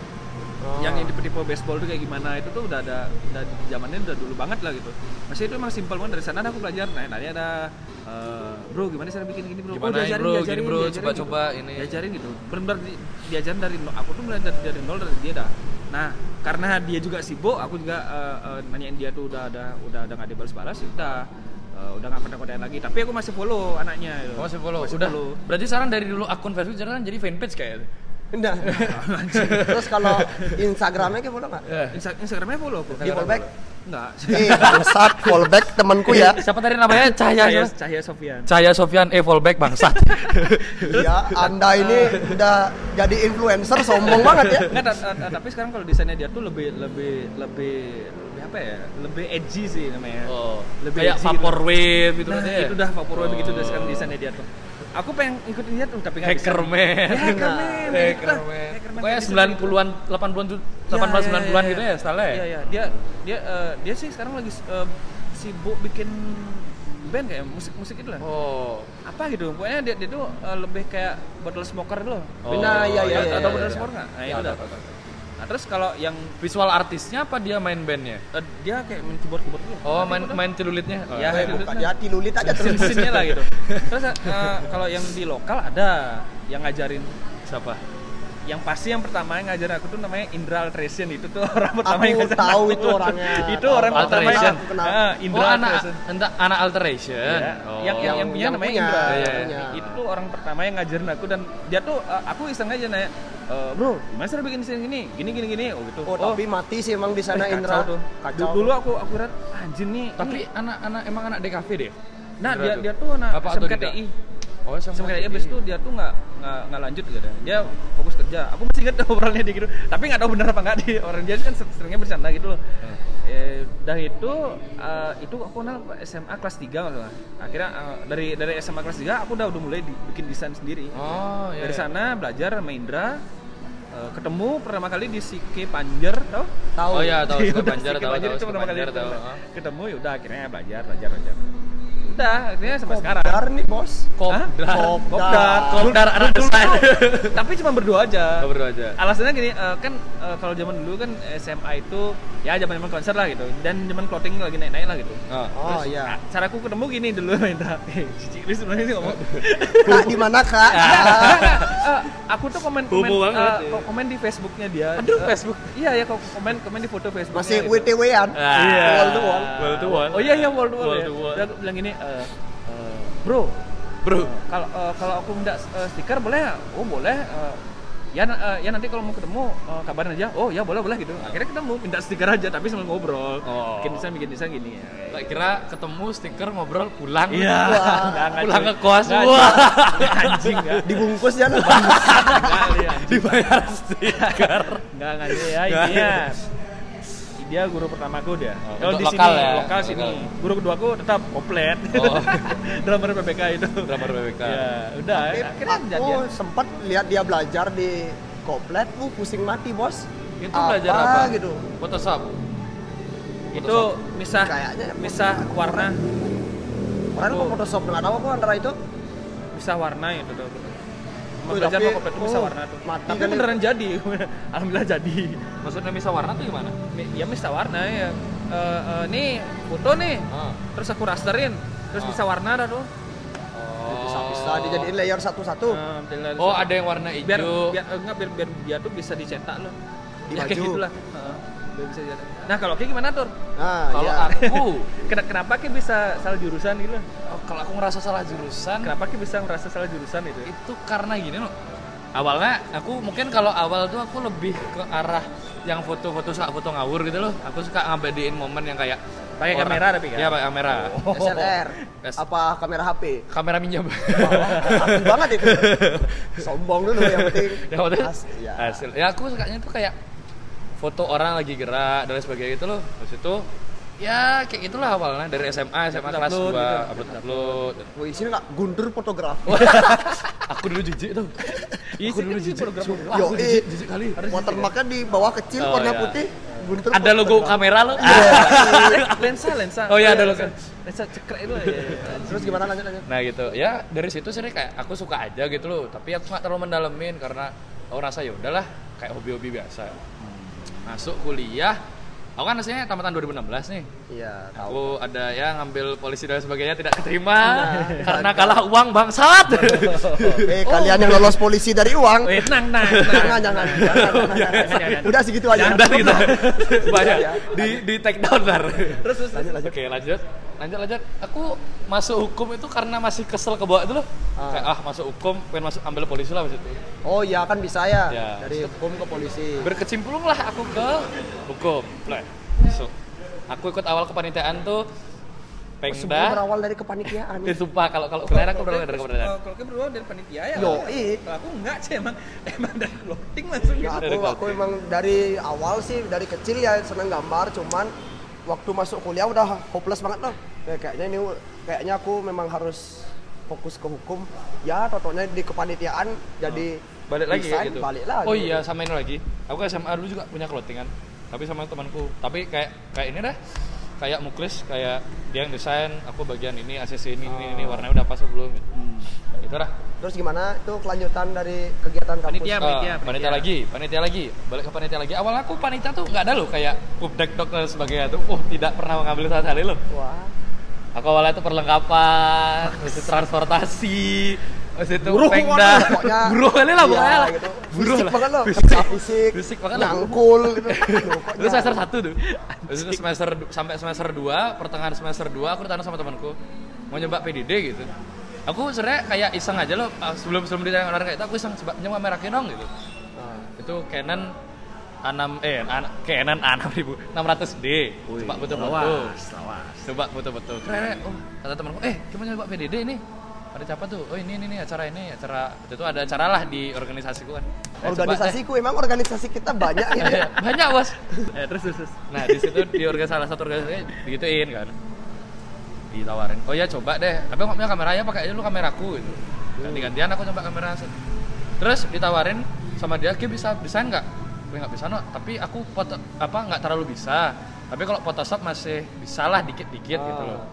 Speaker 3: Oh.
Speaker 2: Yang yang tipe-tipe baseball itu kayak gimana itu tuh udah ada udah di zamannya udah dulu banget lah gitu. Masih itu emang simpel banget dari sana dah aku belajar. Nah, tadi ada eh, bro gimana cara bikin gini bro? Oh,
Speaker 1: Gimana
Speaker 2: diajarin,
Speaker 1: bro,
Speaker 2: diajarin,
Speaker 1: gini bro,
Speaker 2: diajarin,
Speaker 1: coba-coba
Speaker 2: gitu.
Speaker 1: ini.
Speaker 2: Diajarin gitu. Benar-benar di, diajarin dari nol. Aku tuh mulai dari, dari nol dari dia dah. Nah, karena dia juga sibuk, aku juga eh, eh, nanyain dia tuh udah ada udah ada nggak dibalas-balas, ya udah Eh, Eh, udah nggak pernah konten lagi tapi aku masih follow anaknya gitu.
Speaker 1: Kamu Oh, masih follow. Udah. Berarti sekarang dari dulu akun Facebook sekarang jadi fanpage kayaknya.
Speaker 3: Nah, terus kalau Instagramnya kayak boleh nggak?
Speaker 1: Ya.
Speaker 2: Insta- Instagramnya follow aku
Speaker 3: Di follow back?
Speaker 2: Enggak
Speaker 3: Eh, bangsat, fallback temanku ya.
Speaker 1: Siapa tadi namanya? Cahaya.
Speaker 2: Cahaya,
Speaker 1: siapa?
Speaker 2: Cahaya Sofian
Speaker 1: Cahaya Sofian eh fallback bangsat.
Speaker 3: Iya, Anda ini udah jadi influencer sombong banget ya.
Speaker 2: Nggak, ta- ta- ta- tapi sekarang kalau desainnya dia tuh lebih lebih lebih lebih apa ya lebih edgy sih namanya
Speaker 1: Oh,
Speaker 2: Lebih
Speaker 1: kayak
Speaker 2: edgy gitu.
Speaker 1: vaporwave gitu
Speaker 2: nah,
Speaker 1: kan ya?
Speaker 2: itu dah vaporwave begitu udah sekarang
Speaker 1: Oh.
Speaker 2: desainnya dia tuh aku pengen ngikutin dia tuh tapi nggak
Speaker 1: Hacker
Speaker 2: bisa.
Speaker 1: man.
Speaker 2: Ya, hacker man
Speaker 1: Nah,
Speaker 2: ya,
Speaker 1: Hacker
Speaker 2: itulah.
Speaker 1: man.
Speaker 2: Hacker man
Speaker 1: Pokoknya
Speaker 2: kayak gitu.
Speaker 1: 90-an, 80-an, tuh-
Speaker 2: Ya,
Speaker 1: 18 90-an gitu ya style
Speaker 2: Iya,
Speaker 1: ya.
Speaker 2: iya. Dia dia eh, dia sih sekarang lagi eh, sibuk bikin band kayak musik-musik itu lah.
Speaker 1: Oh.
Speaker 2: Apa gitu? Pokoknya dia, dia tuh eh, lebih kayak bottle smoker gitu loh.
Speaker 1: Oh,
Speaker 3: Nah, iya, iya, iya,
Speaker 2: Atau
Speaker 3: iya,
Speaker 2: bottle
Speaker 3: iya.
Speaker 2: smoker nggak? Nah,
Speaker 1: Iya,
Speaker 2: itu
Speaker 1: ada,
Speaker 2: dah.
Speaker 1: ada.
Speaker 2: Nah, terus kalau yang
Speaker 1: Visual artisnya apa dia main bandnya?
Speaker 2: eh, dia kayak main keyboard-keyboard gitu.
Speaker 1: Oh, main main celulitnya. Ya.
Speaker 2: Iya.
Speaker 3: Eh, bukan jadi lulit aja terus.
Speaker 2: Scene-scene-nya lah gitu. Terus eh, kalau yang di lokal ada yang ngajarin
Speaker 1: Siapa?
Speaker 2: yang pasti yang pertama yang ngajarin aku tuh namanya Indra Altration itu tuh orang pertama
Speaker 3: Aku
Speaker 2: yang ngajarin
Speaker 3: tahu itu orangnya.
Speaker 2: itu orang
Speaker 1: Tahu,
Speaker 2: pertama Nah, yang
Speaker 1: Altration.
Speaker 2: aku
Speaker 3: Kenal.
Speaker 2: Indra
Speaker 1: oh, anak
Speaker 2: Altration
Speaker 1: entah anak alteration.
Speaker 2: Ya,
Speaker 1: Oh.
Speaker 2: yang, yang yang punya
Speaker 3: Yang
Speaker 2: namanya
Speaker 3: punya,
Speaker 2: Indra
Speaker 1: iya,
Speaker 2: Nah,
Speaker 3: iya.
Speaker 2: itu tuh orang pertama yang ngajarin aku dan dia tuh eh, aku iseng aja nanya e, bro gimana sih lu bikin desain gini gini gini gini oh gitu
Speaker 3: Oh, tapi mati sih emang di sana
Speaker 2: eh,
Speaker 3: Indra.
Speaker 2: kacau tuh Du- dulu aku aku lihat anjir nih
Speaker 1: tapi
Speaker 2: ini-
Speaker 1: anak-anak emang anak DKV deh.
Speaker 2: nah
Speaker 1: Indra
Speaker 2: dia dia tuh anak
Speaker 1: Apa atau tidak?
Speaker 2: SMKTI
Speaker 1: Oh, sama
Speaker 2: sama kayak abis itu dia tuh nggak nggak nggak lanjut gitu deh. dia fokus kerja aku masih ingat obrolannya di gitu tapi nggak tahu bener apa nggak di orang dia kan seringnya bercanda gitu loh
Speaker 1: Hmm.
Speaker 2: eh, dari itu eh, itu aku kenal SMA kelas 3 nggak salah akhirnya eh, dari dari SMA kelas 3 aku udah udah mulai di- bikin desain sendiri
Speaker 1: Oh, iya.
Speaker 2: dari sana belajar sama Indra eh, ketemu pertama kali di Sike Panjer tau
Speaker 1: Oh
Speaker 3: Tahu.
Speaker 1: iya, tahu
Speaker 2: Yaudah,
Speaker 1: suka Banjar
Speaker 2: Sike
Speaker 1: tahu tahu
Speaker 2: itu
Speaker 1: suka
Speaker 2: pertama kali
Speaker 1: Banjar tahu.
Speaker 2: ketemu.
Speaker 1: ah.
Speaker 2: ketemu ya udah akhirnya belajar belajar belajar udah akhirnya sampai sekarang
Speaker 3: Kopdar nih, Bos.
Speaker 1: Kopdar.
Speaker 3: Kopdar.
Speaker 1: Kopdar anak desain.
Speaker 2: tapi cuma berdua aja
Speaker 1: Kau berdua aja.
Speaker 2: alasannya gini eh, kan eh, kalau zaman dulu kan SMA itu ya zaman zaman konser lah gitu dan zaman clothing lagi naik naik lah gitu
Speaker 1: Ah.
Speaker 3: Oh
Speaker 2: Nah,
Speaker 3: iya.
Speaker 2: cara aku ketemu gini dulu main cici ini sebenarnya sih ngomong
Speaker 3: Kak di mana, Kak?
Speaker 2: Nah, nah, eh, aku tuh komen komen
Speaker 1: Bobo banget,
Speaker 2: eh,
Speaker 1: ya.
Speaker 2: kok- komen di Facebooknya dia
Speaker 1: Aduh,
Speaker 2: Eh,
Speaker 1: Facebook.
Speaker 2: iya ya kok- komen komen di foto Facebooknya
Speaker 3: Masih
Speaker 2: gitu.
Speaker 3: WTW-an.
Speaker 1: Iya.
Speaker 3: Wall to wall.
Speaker 1: Wall to wall.
Speaker 2: oh iya iya wall to wall,
Speaker 1: Wall
Speaker 2: ya.
Speaker 1: to wall.
Speaker 2: Dan aku bilang gini eh, eh, bro
Speaker 1: Bro,
Speaker 2: kalau eh, kalau aku minta eh, stiker boleh nggak? oh boleh Eh, ya na- eh, ya nanti kalau mau ketemu eh, kabarin aja oh ya boleh boleh gitu akhirnya ketemu minta stiker aja tapi sambil ngobrol
Speaker 1: Oh.
Speaker 2: bikin desain bikin desain gini ya
Speaker 1: tak kira ketemu stiker ngobrol pulang.
Speaker 2: Iya.
Speaker 3: Wah.
Speaker 2: Nggak, nggak,
Speaker 1: Pulang
Speaker 2: cuy.
Speaker 1: ke kos.
Speaker 2: Nggak,
Speaker 1: Wah.
Speaker 2: cuy. anjing ya
Speaker 3: Dibungkus ya lu.
Speaker 1: Dibayar stiker.
Speaker 2: nggak nggak cuy, ya intinya dia guru pertamaku dia
Speaker 1: Oh,
Speaker 2: kalau
Speaker 1: untuk
Speaker 2: di
Speaker 1: lokal
Speaker 2: sini
Speaker 1: ya,
Speaker 2: lokal
Speaker 1: lokal.
Speaker 2: sini guru keduaku tetap komplit
Speaker 1: Oh.
Speaker 2: drummer PPK itu
Speaker 1: Drummer PPK.
Speaker 2: ya Oh, udah akhirnya
Speaker 3: Aku
Speaker 2: jadian
Speaker 3: sempat ya. lihat dia belajar di koplet, uh pusing mati, Bos.
Speaker 1: Itu belajar apa?
Speaker 3: gitu?
Speaker 1: Photoshop.
Speaker 2: itu misah
Speaker 3: Kayaknya ya,
Speaker 2: misah warna
Speaker 3: Orang lupa
Speaker 2: Oh.
Speaker 3: Photoshop nggak tahu aku antara itu.
Speaker 2: bisa warna itu tuh. Mau
Speaker 3: Wih,
Speaker 2: belajar
Speaker 3: tapi-
Speaker 2: mau kopet tuh bisa
Speaker 3: oh,
Speaker 2: warna tuh.
Speaker 3: mati
Speaker 2: tapi
Speaker 3: kali.
Speaker 2: beneran jadi. Alhamdulillah jadi.
Speaker 1: Maksudnya bisa warna tuh gimana?
Speaker 2: Mi- Ya bisa warna ya. Eh eh, nih foto nih.
Speaker 1: Ah.
Speaker 2: Terus aku rasterin. Terus
Speaker 1: Ah.
Speaker 2: bisa warna dah tuh.
Speaker 3: Bisa-bisa dijadiin layer satu-satu
Speaker 2: Eh, bila-
Speaker 1: Oh, ada yang warna hijau.
Speaker 2: biar biar eh, enggak biar, biar dia tuh bisa dicetak loh.
Speaker 3: di
Speaker 2: Ya, kayak
Speaker 3: baju.
Speaker 2: gitulah. Heeh. biar bisa dicetak. Nah, kalau kayak gimana tuh?
Speaker 3: Nah,
Speaker 1: Kalau
Speaker 3: iya.
Speaker 1: aku,
Speaker 2: Kenapa, kenapa kayak bisa salah jurusan gitu? loh?
Speaker 1: oh, kalau aku ngerasa salah jurusan,
Speaker 2: Kenapa kayak bisa ngerasa salah jurusan itu?
Speaker 1: itu karena gini loh awalnya aku mungkin kalau awal tuh aku lebih ke arah yang foto-foto suka foto ngawur gitu loh aku suka ngabedein momen yang kayak
Speaker 2: Pakai
Speaker 1: orang-
Speaker 2: kamera tapi kan?
Speaker 1: iya pakai kamera
Speaker 3: SLR
Speaker 1: Yes.
Speaker 3: apa kamera HP?
Speaker 1: kamera minjam
Speaker 3: Aku banget itu. Sombong dulu yang penting.
Speaker 1: yang penting
Speaker 3: As-
Speaker 2: iya.
Speaker 3: ya.
Speaker 1: hasil ya aku sukanya tuh kayak foto orang lagi gerak dan lain sebagainya gitu loh terus itu ya kayak gitulah awalnya dari SMA SMA kelas 2
Speaker 2: Upload gitu.
Speaker 1: upload upload
Speaker 3: Wah, di sini nggak guntur fotografi.
Speaker 1: aku dulu jijik tuh aku
Speaker 2: Iya sih,
Speaker 1: dulu
Speaker 2: kan sih
Speaker 1: jijik
Speaker 2: program-
Speaker 1: Sumpah,
Speaker 3: Yo,
Speaker 1: aku
Speaker 3: eh.
Speaker 1: jijik jijik kali
Speaker 3: Watermarknya di bawah kecil
Speaker 1: Oh,
Speaker 3: warna
Speaker 1: iya.
Speaker 3: putih. Guntur
Speaker 1: ada logo
Speaker 3: fotografi.
Speaker 1: kamera lo
Speaker 2: Iya. lensa, lensa.
Speaker 1: Oh iya, ada
Speaker 2: lensa.
Speaker 1: lensa.
Speaker 2: Lensa cekrek itu. ya, ya, ya.
Speaker 3: Terus gimana lanjut lanjut?
Speaker 1: Nah gitu, ya dari situ sering kayak aku suka aja gitu loh, tapi aku nggak terlalu mendalemin karena aku rasa ya udahlah kayak hobi-hobi biasa. Masuk Hmm, kuliah, Aku kan aslinya tamatan 2016 nih.
Speaker 3: Iya, tahu.
Speaker 1: Aku ada ya ngambil polisi dan sebagainya tidak keterima karena kalah uang bangsat. Oh.
Speaker 3: Eh, kalian yang lolos polisi dari uang.
Speaker 1: iya.
Speaker 2: Eh, tenang, tenang,
Speaker 3: Jangan,
Speaker 2: tenang.
Speaker 1: Oh,
Speaker 3: jangan, jangan, jangan, jangan. Udah segitu aja.
Speaker 1: Standar kita. gitu. Banyak
Speaker 3: Iya,
Speaker 1: di di take down lar.
Speaker 2: Terus terus.
Speaker 3: Lanjut, lanjut.
Speaker 1: Oke, lanjut. Lanjut lanjut. Aku masuk hukum itu karena masih kesel ke bawah itu loh.
Speaker 3: Ah.
Speaker 1: Kayak ah masuk hukum, pengen masuk ambil polisi lah maksudnya.
Speaker 3: Oh iya, kan bisa ya.
Speaker 1: Iya.
Speaker 3: Dari hukum ke polisi.
Speaker 1: berkecimpung lah aku ke hukum Iya. Plek. So, aku ikut awal kepanitiaan tuh
Speaker 3: Semua
Speaker 1: pengda
Speaker 3: berawal dari kepanitiaan.
Speaker 1: Eh, sumpah kalau kalau kalian aku berangkat dari kepanitiaan
Speaker 2: Eh, Kalau kita berdua dari panitia ya.
Speaker 3: Yo,
Speaker 2: Kalau-
Speaker 3: iya.
Speaker 2: Kalau aku enggak sih emang emang dari bloating langsung
Speaker 3: Ya,
Speaker 2: gitu.
Speaker 1: Dari
Speaker 3: aku aku
Speaker 1: clothing.
Speaker 3: emang dari awal sih dari kecil ya seneng gambar cuman waktu masuk kuliah udah hopeless banget loh Ya, kayaknya ini kayaknya aku memang harus fokus ke hukum ya totonya di kepanitiaan jadi
Speaker 1: balik lagi ya
Speaker 3: desain,
Speaker 1: gitu
Speaker 3: balik lagi
Speaker 1: oh iya sama ini lagi aku ke SMA dulu juga punya clothingan tapi sama temanku tapi kayak kayak ini dah kayak muklis kayak dia yang desain aku bagian ini ACC ini ini, ini warnanya udah pas sebelum gitu gitu dah
Speaker 3: terus gimana itu kelanjutan dari kegiatan kampus
Speaker 2: Panitia.
Speaker 1: Ah,
Speaker 2: panitia,
Speaker 1: panitia
Speaker 2: panitia.
Speaker 1: lagi, panitia lagi, balik ke panitia lagi. Awal aku panitia tuh nggak ada loh kayak kubdek dok dan sebagainya tuh. Oh tidak pernah mengambil sama sekali loh.
Speaker 3: Ah. wah
Speaker 1: Aku awalnya tuh perlengkapan, habis itu transportasi, habis itu
Speaker 3: Buruh
Speaker 1: pengda,
Speaker 3: pokoknya, pokoknya.
Speaker 1: buruh kali lah
Speaker 3: Iya,
Speaker 1: pokoknya lah.
Speaker 3: gitu.
Speaker 1: Buruh
Speaker 3: fisik
Speaker 1: lah.
Speaker 3: banget loh
Speaker 1: Fisik.
Speaker 3: fisik fisik,
Speaker 1: Fisik banget loh.
Speaker 3: nyangkul gitu Loh, kok
Speaker 1: Itu semester
Speaker 3: nyangkul?
Speaker 1: satu tuh. Habis itu semester du- sampai semester 2, pertengahan semester 2 aku ditanya sama temanku, mau nyoba PDD gitu. Aku sebenarnya kayak iseng aja loh, pas- sebelum sebelum ditanya orang kayak itu aku iseng coba nyoba merah dong gitu.
Speaker 3: Nah,
Speaker 1: itu Canon A6 eh an- Canon A6000 600D coba foto-foto
Speaker 2: Lawas, lawas.
Speaker 1: coba foto-foto keren oh kata temanku eh gimana coba PDD ini pada siapa tuh oh ini ini, ini acara ini acara itu tuh ada acara lah di organisasiku kan Eh, coba, eh.
Speaker 3: organisasiku emang organisasi kita banyak ya
Speaker 1: banyak bos
Speaker 2: Eh, terus terus. terus.
Speaker 1: nah di situ di organisasi salah satu organisasi digituin kan ditawarin oh ya coba deh tapi aku nggak punya kamera ya pakai aja dulu kameraku gitu ganti gantian aku coba kamera set. terus ditawarin sama dia Ki bisa desain nggak gue nggak bisa no tapi aku foto apa nggak terlalu bisa tapi kalau Photoshop masih bisa lah dikit-dikit
Speaker 3: Ah.
Speaker 1: gitu loh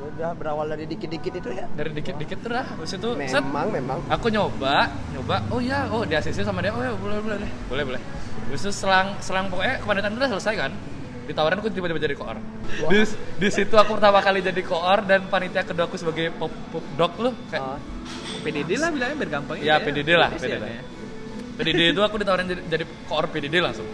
Speaker 3: Oh. udah berawal dari dikit-dikit itu ya
Speaker 1: dari dikit-dikit tuh dah habis itu set,
Speaker 3: memang memang
Speaker 1: aku nyoba nyoba oh iya oh di ACC sama dia oh ya boleh boleh boleh boleh boleh terus itu selang selang pokoknya kepadatan itu udah selesai kan ditawarin aku tiba-tiba jadi koor di, di situ aku pertama kali jadi koor dan panitia kedua aku sebagai pop, pop dog loh kayak
Speaker 3: Ah.
Speaker 2: PDD lah bilangnya biar gampang
Speaker 1: Ya, PDD lah,
Speaker 2: PDD.
Speaker 1: PDD.
Speaker 2: ya.
Speaker 1: PDD itu aku ditawarin jadi, jadi koor PDD langsung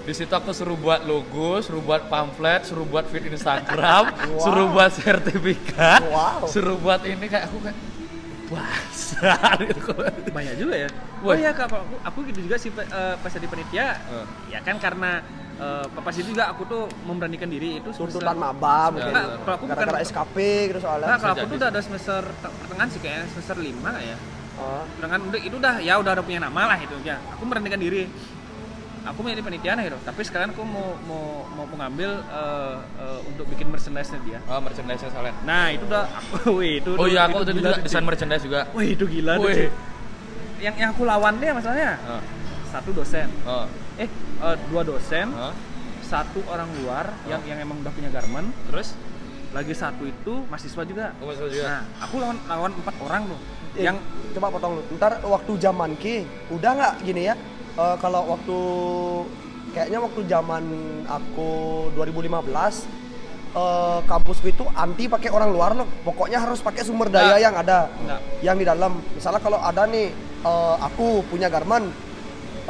Speaker 1: di situ aku suruh buat logo, suruh buat pamflet, suruh buat feed Instagram, suruh buat sertifikat,
Speaker 3: Wow.
Speaker 1: suruh buat ini kayak aku kayak basah gitu.
Speaker 2: Banyak juga ya.
Speaker 1: Wah.
Speaker 2: Oh iya Kak, aku, aku gitu juga sih eh, pas jadi panitia.
Speaker 1: Eh.
Speaker 2: Ya kan karena eh, pas itu juga aku tuh memberanikan diri itu
Speaker 3: tuntutan
Speaker 2: sebesar-
Speaker 3: maba mungkin
Speaker 2: Nah, kalau aku
Speaker 3: gara-gara
Speaker 2: bukan-
Speaker 3: SKP gitu soalnya
Speaker 2: Nah, kalau aku
Speaker 1: Bisa
Speaker 2: tuh
Speaker 1: jadi.
Speaker 2: udah ada semester te- pertengahan sih kayaknya semester lima lah ya.
Speaker 3: Oh,
Speaker 2: Pertengahan udah itu udah ya udah ada punya nama lah itu ya. Aku merendahkan diri. Aku menjadi panitia nah, gitu. Tapi sekarang aku mau mau mau mengambil eh, eh, untuk bikin merchandise-nya dia.
Speaker 1: Oh, merchandise soalnya.
Speaker 2: Nah, itu udah aku wih, itu
Speaker 1: Oh iya,
Speaker 2: itu
Speaker 1: aku tadi
Speaker 2: gila
Speaker 1: juga
Speaker 2: tuh,
Speaker 1: desain
Speaker 2: Cik.
Speaker 1: merchandise juga.
Speaker 2: Wih, itu gila tuh,
Speaker 1: Wih.
Speaker 2: Cik. Yang yang aku lawan dia masalahnya.
Speaker 1: Oh,
Speaker 2: Satu dosen.
Speaker 1: oh,
Speaker 2: Eh, eh, dua dosen,
Speaker 1: oh.
Speaker 2: satu orang luar yang yang emang udah punya garment,
Speaker 1: Terus?
Speaker 2: lagi satu itu mahasiswa juga.
Speaker 1: Oh, mahasiswa juga.
Speaker 2: Nah, aku lawan lawan empat orang loh.
Speaker 3: eh,
Speaker 2: Yang
Speaker 3: coba potong lu. Ntar waktu zaman ki, udah nggak gini ya? Eh, kalau waktu kayaknya waktu zaman aku 2015 eh, kampusku itu anti pakai orang luar loh. Pokoknya harus pakai sumber daya
Speaker 2: Nggak.
Speaker 3: yang ada,
Speaker 2: Nggak.
Speaker 3: yang di dalam. Misalnya kalau ada nih, eh, aku punya Garmen,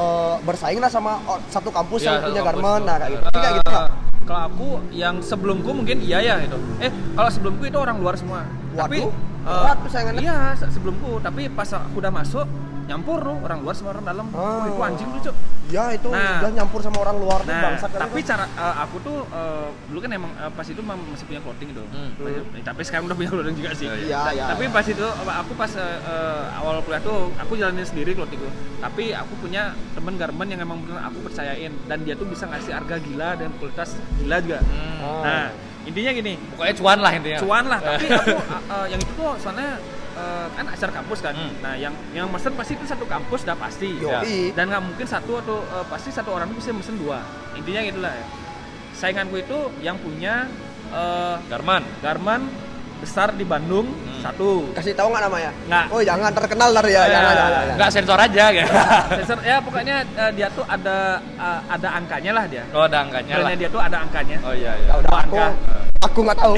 Speaker 3: eh, bersainglah sama o- satu kampus
Speaker 1: Iya,
Speaker 3: yang
Speaker 1: satu
Speaker 3: punya
Speaker 1: kampus
Speaker 3: Garmen,
Speaker 1: tuh.
Speaker 3: nah kayak gitu. Tapi kayak gitu nggak?
Speaker 2: kalau aku yang sebelumku mungkin iya ya itu. Eh, kalau sebelumku itu orang luar semua. tapi
Speaker 3: Waduh,
Speaker 2: eh,
Speaker 3: berat tuh sayangannya.
Speaker 2: Iya, se- sebelumku, tapi pas aku udah masuk nyampur loh orang luar sama orang dalam. Wah,
Speaker 3: Ah.
Speaker 2: itu anjing lucu.
Speaker 3: Ya itu
Speaker 2: Nah.
Speaker 3: udah nyampur sama orang luar tuh
Speaker 2: Nah,
Speaker 3: bangsat kali
Speaker 2: tapi
Speaker 3: itu.
Speaker 2: cara eh, aku tuh eh, dulu kan emang eh, pas itu mem- masih punya clothing gitu.
Speaker 1: Hmm.
Speaker 2: Masih- eh, tapi sekarang udah punya clothing juga sih.
Speaker 1: Iya,
Speaker 3: iya. Iya, iya,
Speaker 2: tapi
Speaker 3: iya.
Speaker 2: pas itu eh, aku pas eh, eh, awal kuliah tuh aku jalanin sendiri clothing gue. Tapi aku punya temen garment yang emang bener aku percayain dan dia tuh bisa ngasih harga gila dan kualitas gila juga.
Speaker 1: Hmm. Iya.
Speaker 2: Nah, intinya gini,
Speaker 1: Pokoknya cuan lah intinya.
Speaker 2: cuan lah tapi aku a- a- yang itu tuh soalnya eh, kan acara kampus kan
Speaker 1: Hmm.
Speaker 2: nah yang yang mesen pasti itu satu kampus udah pasti
Speaker 3: Iya. Yoi.
Speaker 2: dan nggak mungkin satu atau eh, pasti satu orang itu bisa mesen dua intinya gitulah ya. sainganku itu yang punya eh,
Speaker 1: Garman.
Speaker 2: Garman besar di Bandung
Speaker 3: Hmm.
Speaker 2: satu
Speaker 3: Kasih tahu nggak namanya?
Speaker 2: Nggak.
Speaker 3: Oh jangan terkenal lah ya,
Speaker 2: Eh,
Speaker 3: jangan, jangan, jangan.
Speaker 1: Enggak sensor aja gitu.
Speaker 2: Sensor ya pokoknya eh, dia tuh ada eh, ada angkanya lah dia.
Speaker 1: Oh, ada angkanya lah.
Speaker 2: Pokoknya dia tuh ada angkanya.
Speaker 1: Oh iya iya.
Speaker 3: Ya udah
Speaker 2: Dua
Speaker 3: aku,
Speaker 2: angka.
Speaker 3: aku nggak tahu.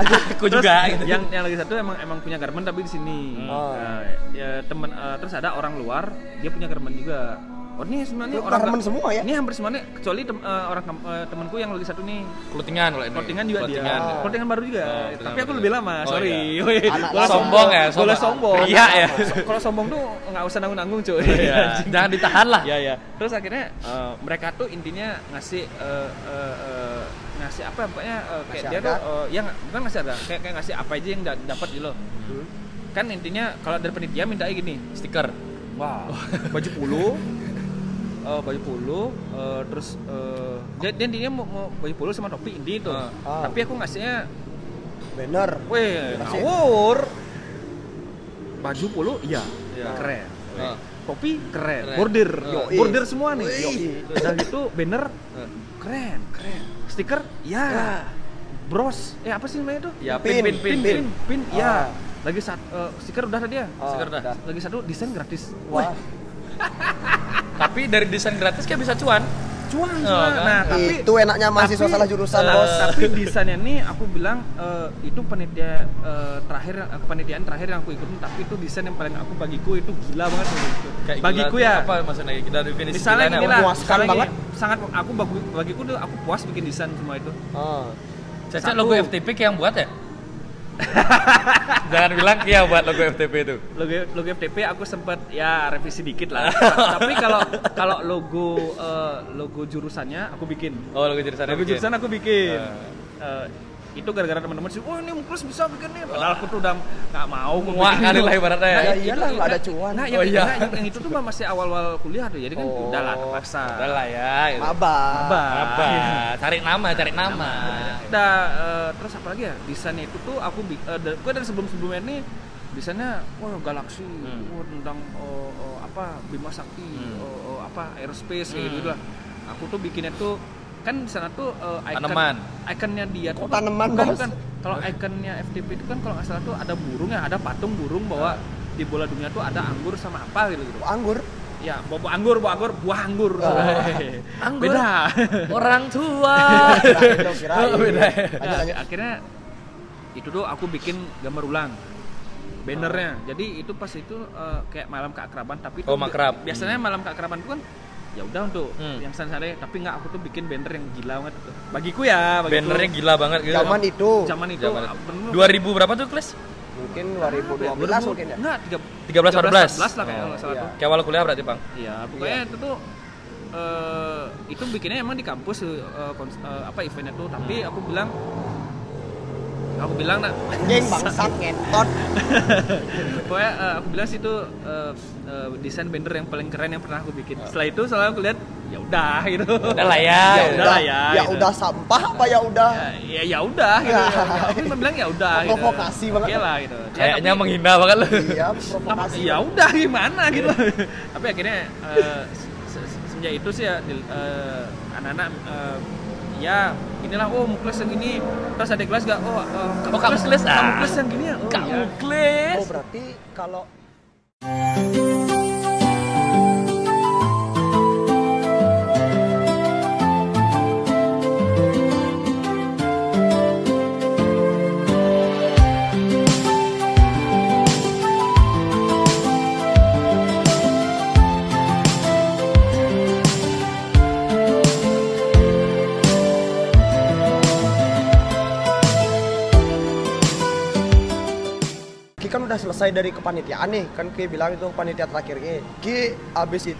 Speaker 3: Lanjut.
Speaker 1: Aku juga
Speaker 2: Terus
Speaker 1: gitu.
Speaker 2: Yang yang lagi satu emang emang punya garment tapi di sini.
Speaker 3: Oh.
Speaker 2: Nah, ya temen eh, terus ada orang luar dia punya garment juga. Oh ini sebenarnya
Speaker 3: Lu
Speaker 2: orang
Speaker 3: garment semua ya?
Speaker 2: Ini hampir semuanya kecuali tem- eh, orang kam- eh, temanku yang lagi satu nih
Speaker 1: Clothingan kalau ini.
Speaker 2: Clothingan juga dia.
Speaker 1: Clothingan.
Speaker 3: Oh.
Speaker 2: Clothingan baru juga.
Speaker 1: Oh, clothingan
Speaker 2: Tapi aku
Speaker 1: baru
Speaker 2: lebih
Speaker 1: juga.
Speaker 2: lama,
Speaker 1: Oh,
Speaker 2: sorry.
Speaker 1: iya.
Speaker 2: Woi,
Speaker 3: Anak
Speaker 2: boleh
Speaker 3: lama.
Speaker 1: Sombong ya, sombong.
Speaker 2: Boleh sombong.
Speaker 1: Iya ya.
Speaker 2: So- Kalau sombong tuh nggak usah nanggung-nanggung, cuy.
Speaker 1: Iya. Jangan ditahan lah.
Speaker 2: Iya, iya. Terus akhirnya eh, mereka tuh intinya ngasih eh, eh, eh, ngasih apa pokoknya eh, kayak
Speaker 3: Ngasih
Speaker 2: dia
Speaker 3: harga.
Speaker 2: tuh eh, ya nggak- bukan ngasih harga, kayak, kayak ngasih apa aja yang da- dapat gitu loh.
Speaker 3: Hmm.
Speaker 2: Kan intinya kalau dari penitia minta gini,
Speaker 1: Stiker.
Speaker 2: Wah, baju polo, eh, baju polo, eh, terus eh, dia, dia intinya mau, mau baju polo sama topi inti itu.
Speaker 1: Ah.
Speaker 3: Ah.
Speaker 2: Tapi aku ngasihnya,
Speaker 3: Banner.
Speaker 2: weh,
Speaker 3: Kasih.
Speaker 2: ngawur. Baju polo, iya,
Speaker 1: Iya.
Speaker 2: keren.
Speaker 1: Oh.
Speaker 2: Topi keren,
Speaker 1: Keren.
Speaker 2: bordir,
Speaker 3: Yoi.
Speaker 2: bordir semua nih.
Speaker 3: Wih.
Speaker 2: Yoi. Udah gitu banner,
Speaker 1: Eh.
Speaker 2: keren, keren. Stiker, ya. Bros, eh apa sih namanya tuh?
Speaker 1: Ya,
Speaker 3: Pin,
Speaker 1: pin pin pin.
Speaker 2: pin,
Speaker 1: pin.
Speaker 2: pin, ya.
Speaker 3: Ah.
Speaker 2: Lagi saat stiker udah tadi ya.
Speaker 3: Oh,
Speaker 1: Seger dah.
Speaker 3: udah.
Speaker 2: Lagi satu desain gratis.
Speaker 3: Wah,
Speaker 1: Tapi dari desain gratis kan bisa cuan.
Speaker 2: cuan
Speaker 1: Oh,
Speaker 2: cuan.
Speaker 1: kan?
Speaker 2: nah tapi
Speaker 3: itu enaknya mahasiswa
Speaker 2: tapi,
Speaker 3: salah jurusan
Speaker 2: eh,
Speaker 3: bos.
Speaker 2: tapi desainnya nih aku bilang eh, itu penitia eh, terakhir eh, kepanitiaan terakhir yang aku ikutin tapi itu desain yang paling aku bagiku itu gila banget sih.
Speaker 1: Kayak
Speaker 2: bagiku
Speaker 1: gila,
Speaker 2: ya
Speaker 1: Apa maksudnya? Kita definisi
Speaker 2: misalnya
Speaker 1: gilanya
Speaker 2: gini
Speaker 1: apa?
Speaker 2: lah
Speaker 3: memuaskan
Speaker 2: misalnya gini,
Speaker 3: banget.
Speaker 2: sangat aku bagu, bagiku tuh aku puas bikin desain semua itu
Speaker 3: Oh.
Speaker 1: Cacat
Speaker 2: Satu.
Speaker 1: logo FTP kayak yang buat ya? Jangan bilang iya buat logo FTP itu.
Speaker 2: logo logo FTP aku sempat ya revisi dikit lah tapi kalau kalau logo eh, logo jurusannya aku bikin
Speaker 1: Oh, logo jurusan.
Speaker 2: Lagu
Speaker 1: bikin.
Speaker 2: jurusan aku bikin.
Speaker 1: Ah.
Speaker 2: Eh, itu gara-gara teman-teman sih, oh ini muklis bisa bikin nih. Padahal aku tuh udah nggak mau. aku
Speaker 1: Muak
Speaker 2: bikin
Speaker 1: kali
Speaker 2: itu.
Speaker 1: lah ibaratnya ya.
Speaker 2: itu-
Speaker 3: iyalah,
Speaker 2: itu-
Speaker 3: Iya, nggak ada
Speaker 2: nah,
Speaker 3: cuan.
Speaker 2: Nah, yang,
Speaker 1: Oh, iya.
Speaker 2: nah, yang- yang itu tuh masih awal-awal kuliah tuh, jadi kan
Speaker 3: Oh.
Speaker 2: udah lah terpaksa.
Speaker 1: Udah lah ya. Gitu.
Speaker 3: Maba.
Speaker 2: Maba.
Speaker 1: Apa? Cari nama, cari nama.
Speaker 2: Udah, eh, terus apa lagi ya? Desainnya itu tuh aku, bi- eh, dari, gue dari sebelum-sebelumnya ini desainnya, wah galaksi,
Speaker 1: Hmm.
Speaker 2: wah, tentang oh, oh, apa Bima Sakti,
Speaker 1: Hmm.
Speaker 2: oh, oh, apa aerospace kayak
Speaker 1: Hmm.
Speaker 2: gitu lah. Aku tuh bikinnya tuh kan di sana tuh eh, icon-
Speaker 1: Tanaman.
Speaker 2: ikonnya dia tuh
Speaker 3: Kok tanaman,
Speaker 2: bukan,
Speaker 3: Bos?
Speaker 2: bukan. kalau ikonnya FTP itu kan kalau nggak salah tuh ada burung ya ada patung burung bahwa di bola dunia tuh ada anggur sama apa gitu gitu
Speaker 3: Anggur.
Speaker 2: ya buah, buah anggur buah anggur buah anggur
Speaker 1: Oh. Anggur.
Speaker 2: beda
Speaker 1: Orang tua.
Speaker 3: Kirain dong, kirain.
Speaker 1: Oh, beda ya.
Speaker 3: Lanjut, lanjut.
Speaker 2: Nah, akhirnya itu tuh aku bikin gambar ulang bannernya jadi itu pas itu eh, kayak malam keakraban tapi
Speaker 1: Oh,
Speaker 2: tuh bi-
Speaker 1: makrab.
Speaker 2: biasanya malam keakraban itu kan ya udah untuk
Speaker 1: Hmm.
Speaker 2: yang sana-sana tapi nggak aku tuh bikin banner yang gila banget tuh. bagiku ya bagiku.
Speaker 1: Bannernya gila banget gitu.
Speaker 3: Zaman itu.
Speaker 2: zaman itu
Speaker 1: Zaman
Speaker 2: ah, bener-
Speaker 1: itu. 2000 berapa tuh, Klis?
Speaker 3: Mungkin
Speaker 2: Berapa ya?
Speaker 3: 2012 mungkin ya.
Speaker 2: Enggak,
Speaker 1: 13, 14.
Speaker 2: 14 lah
Speaker 1: Oh,
Speaker 2: kayaknya kalau nggak salah
Speaker 3: iya.
Speaker 2: tuh.
Speaker 1: Kayak awal kuliah berarti, Bang.
Speaker 2: Iya, pokoknya itu tuh eh, itu bikinnya emang di kampus eh, kons- eh, apa eventnya tuh, tapi
Speaker 1: Hmm.
Speaker 2: aku bilang aku bilang nak
Speaker 3: Anjing bangsat ngentot.
Speaker 2: pokoknya eh, aku bilang sih itu eh, eh, desain banner yang paling keren yang pernah aku bikin. Setelah itu selalu aku lihat ya udah gitu.
Speaker 1: Udah lah ya.
Speaker 2: Ya
Speaker 1: gitu.
Speaker 2: udah lah ya,
Speaker 3: Ya
Speaker 2: gitu.
Speaker 3: udah sampah apa ya udah.
Speaker 2: Ya ya udah gitu.
Speaker 3: Ya.
Speaker 2: Aku memang bilang ya udah gitu.
Speaker 3: Provokasi banget.
Speaker 2: Oke lah gitu. Ya,
Speaker 1: Kayaknya
Speaker 2: tapi-
Speaker 1: menghina banget lu.
Speaker 3: Iya,
Speaker 2: Apa-
Speaker 3: provokasi.
Speaker 2: ya udah gimana gitu tapi akhirnya eh, se- se- semenjak itu sih ya di- eh, anak-anak eh, ya inilah oh mukles yang ini terus ada kelas gak oh eh,
Speaker 1: Oh, kamu kelas, ah.
Speaker 2: kamu kelas yang gini ya oh
Speaker 1: Kamu
Speaker 2: iya.
Speaker 1: Klis.
Speaker 3: Oh, berarti kalau Ki kan udah selesai dari kepanitiaan nih, kan Ki bilang itu panitia terakhir Ki. Ki abis itu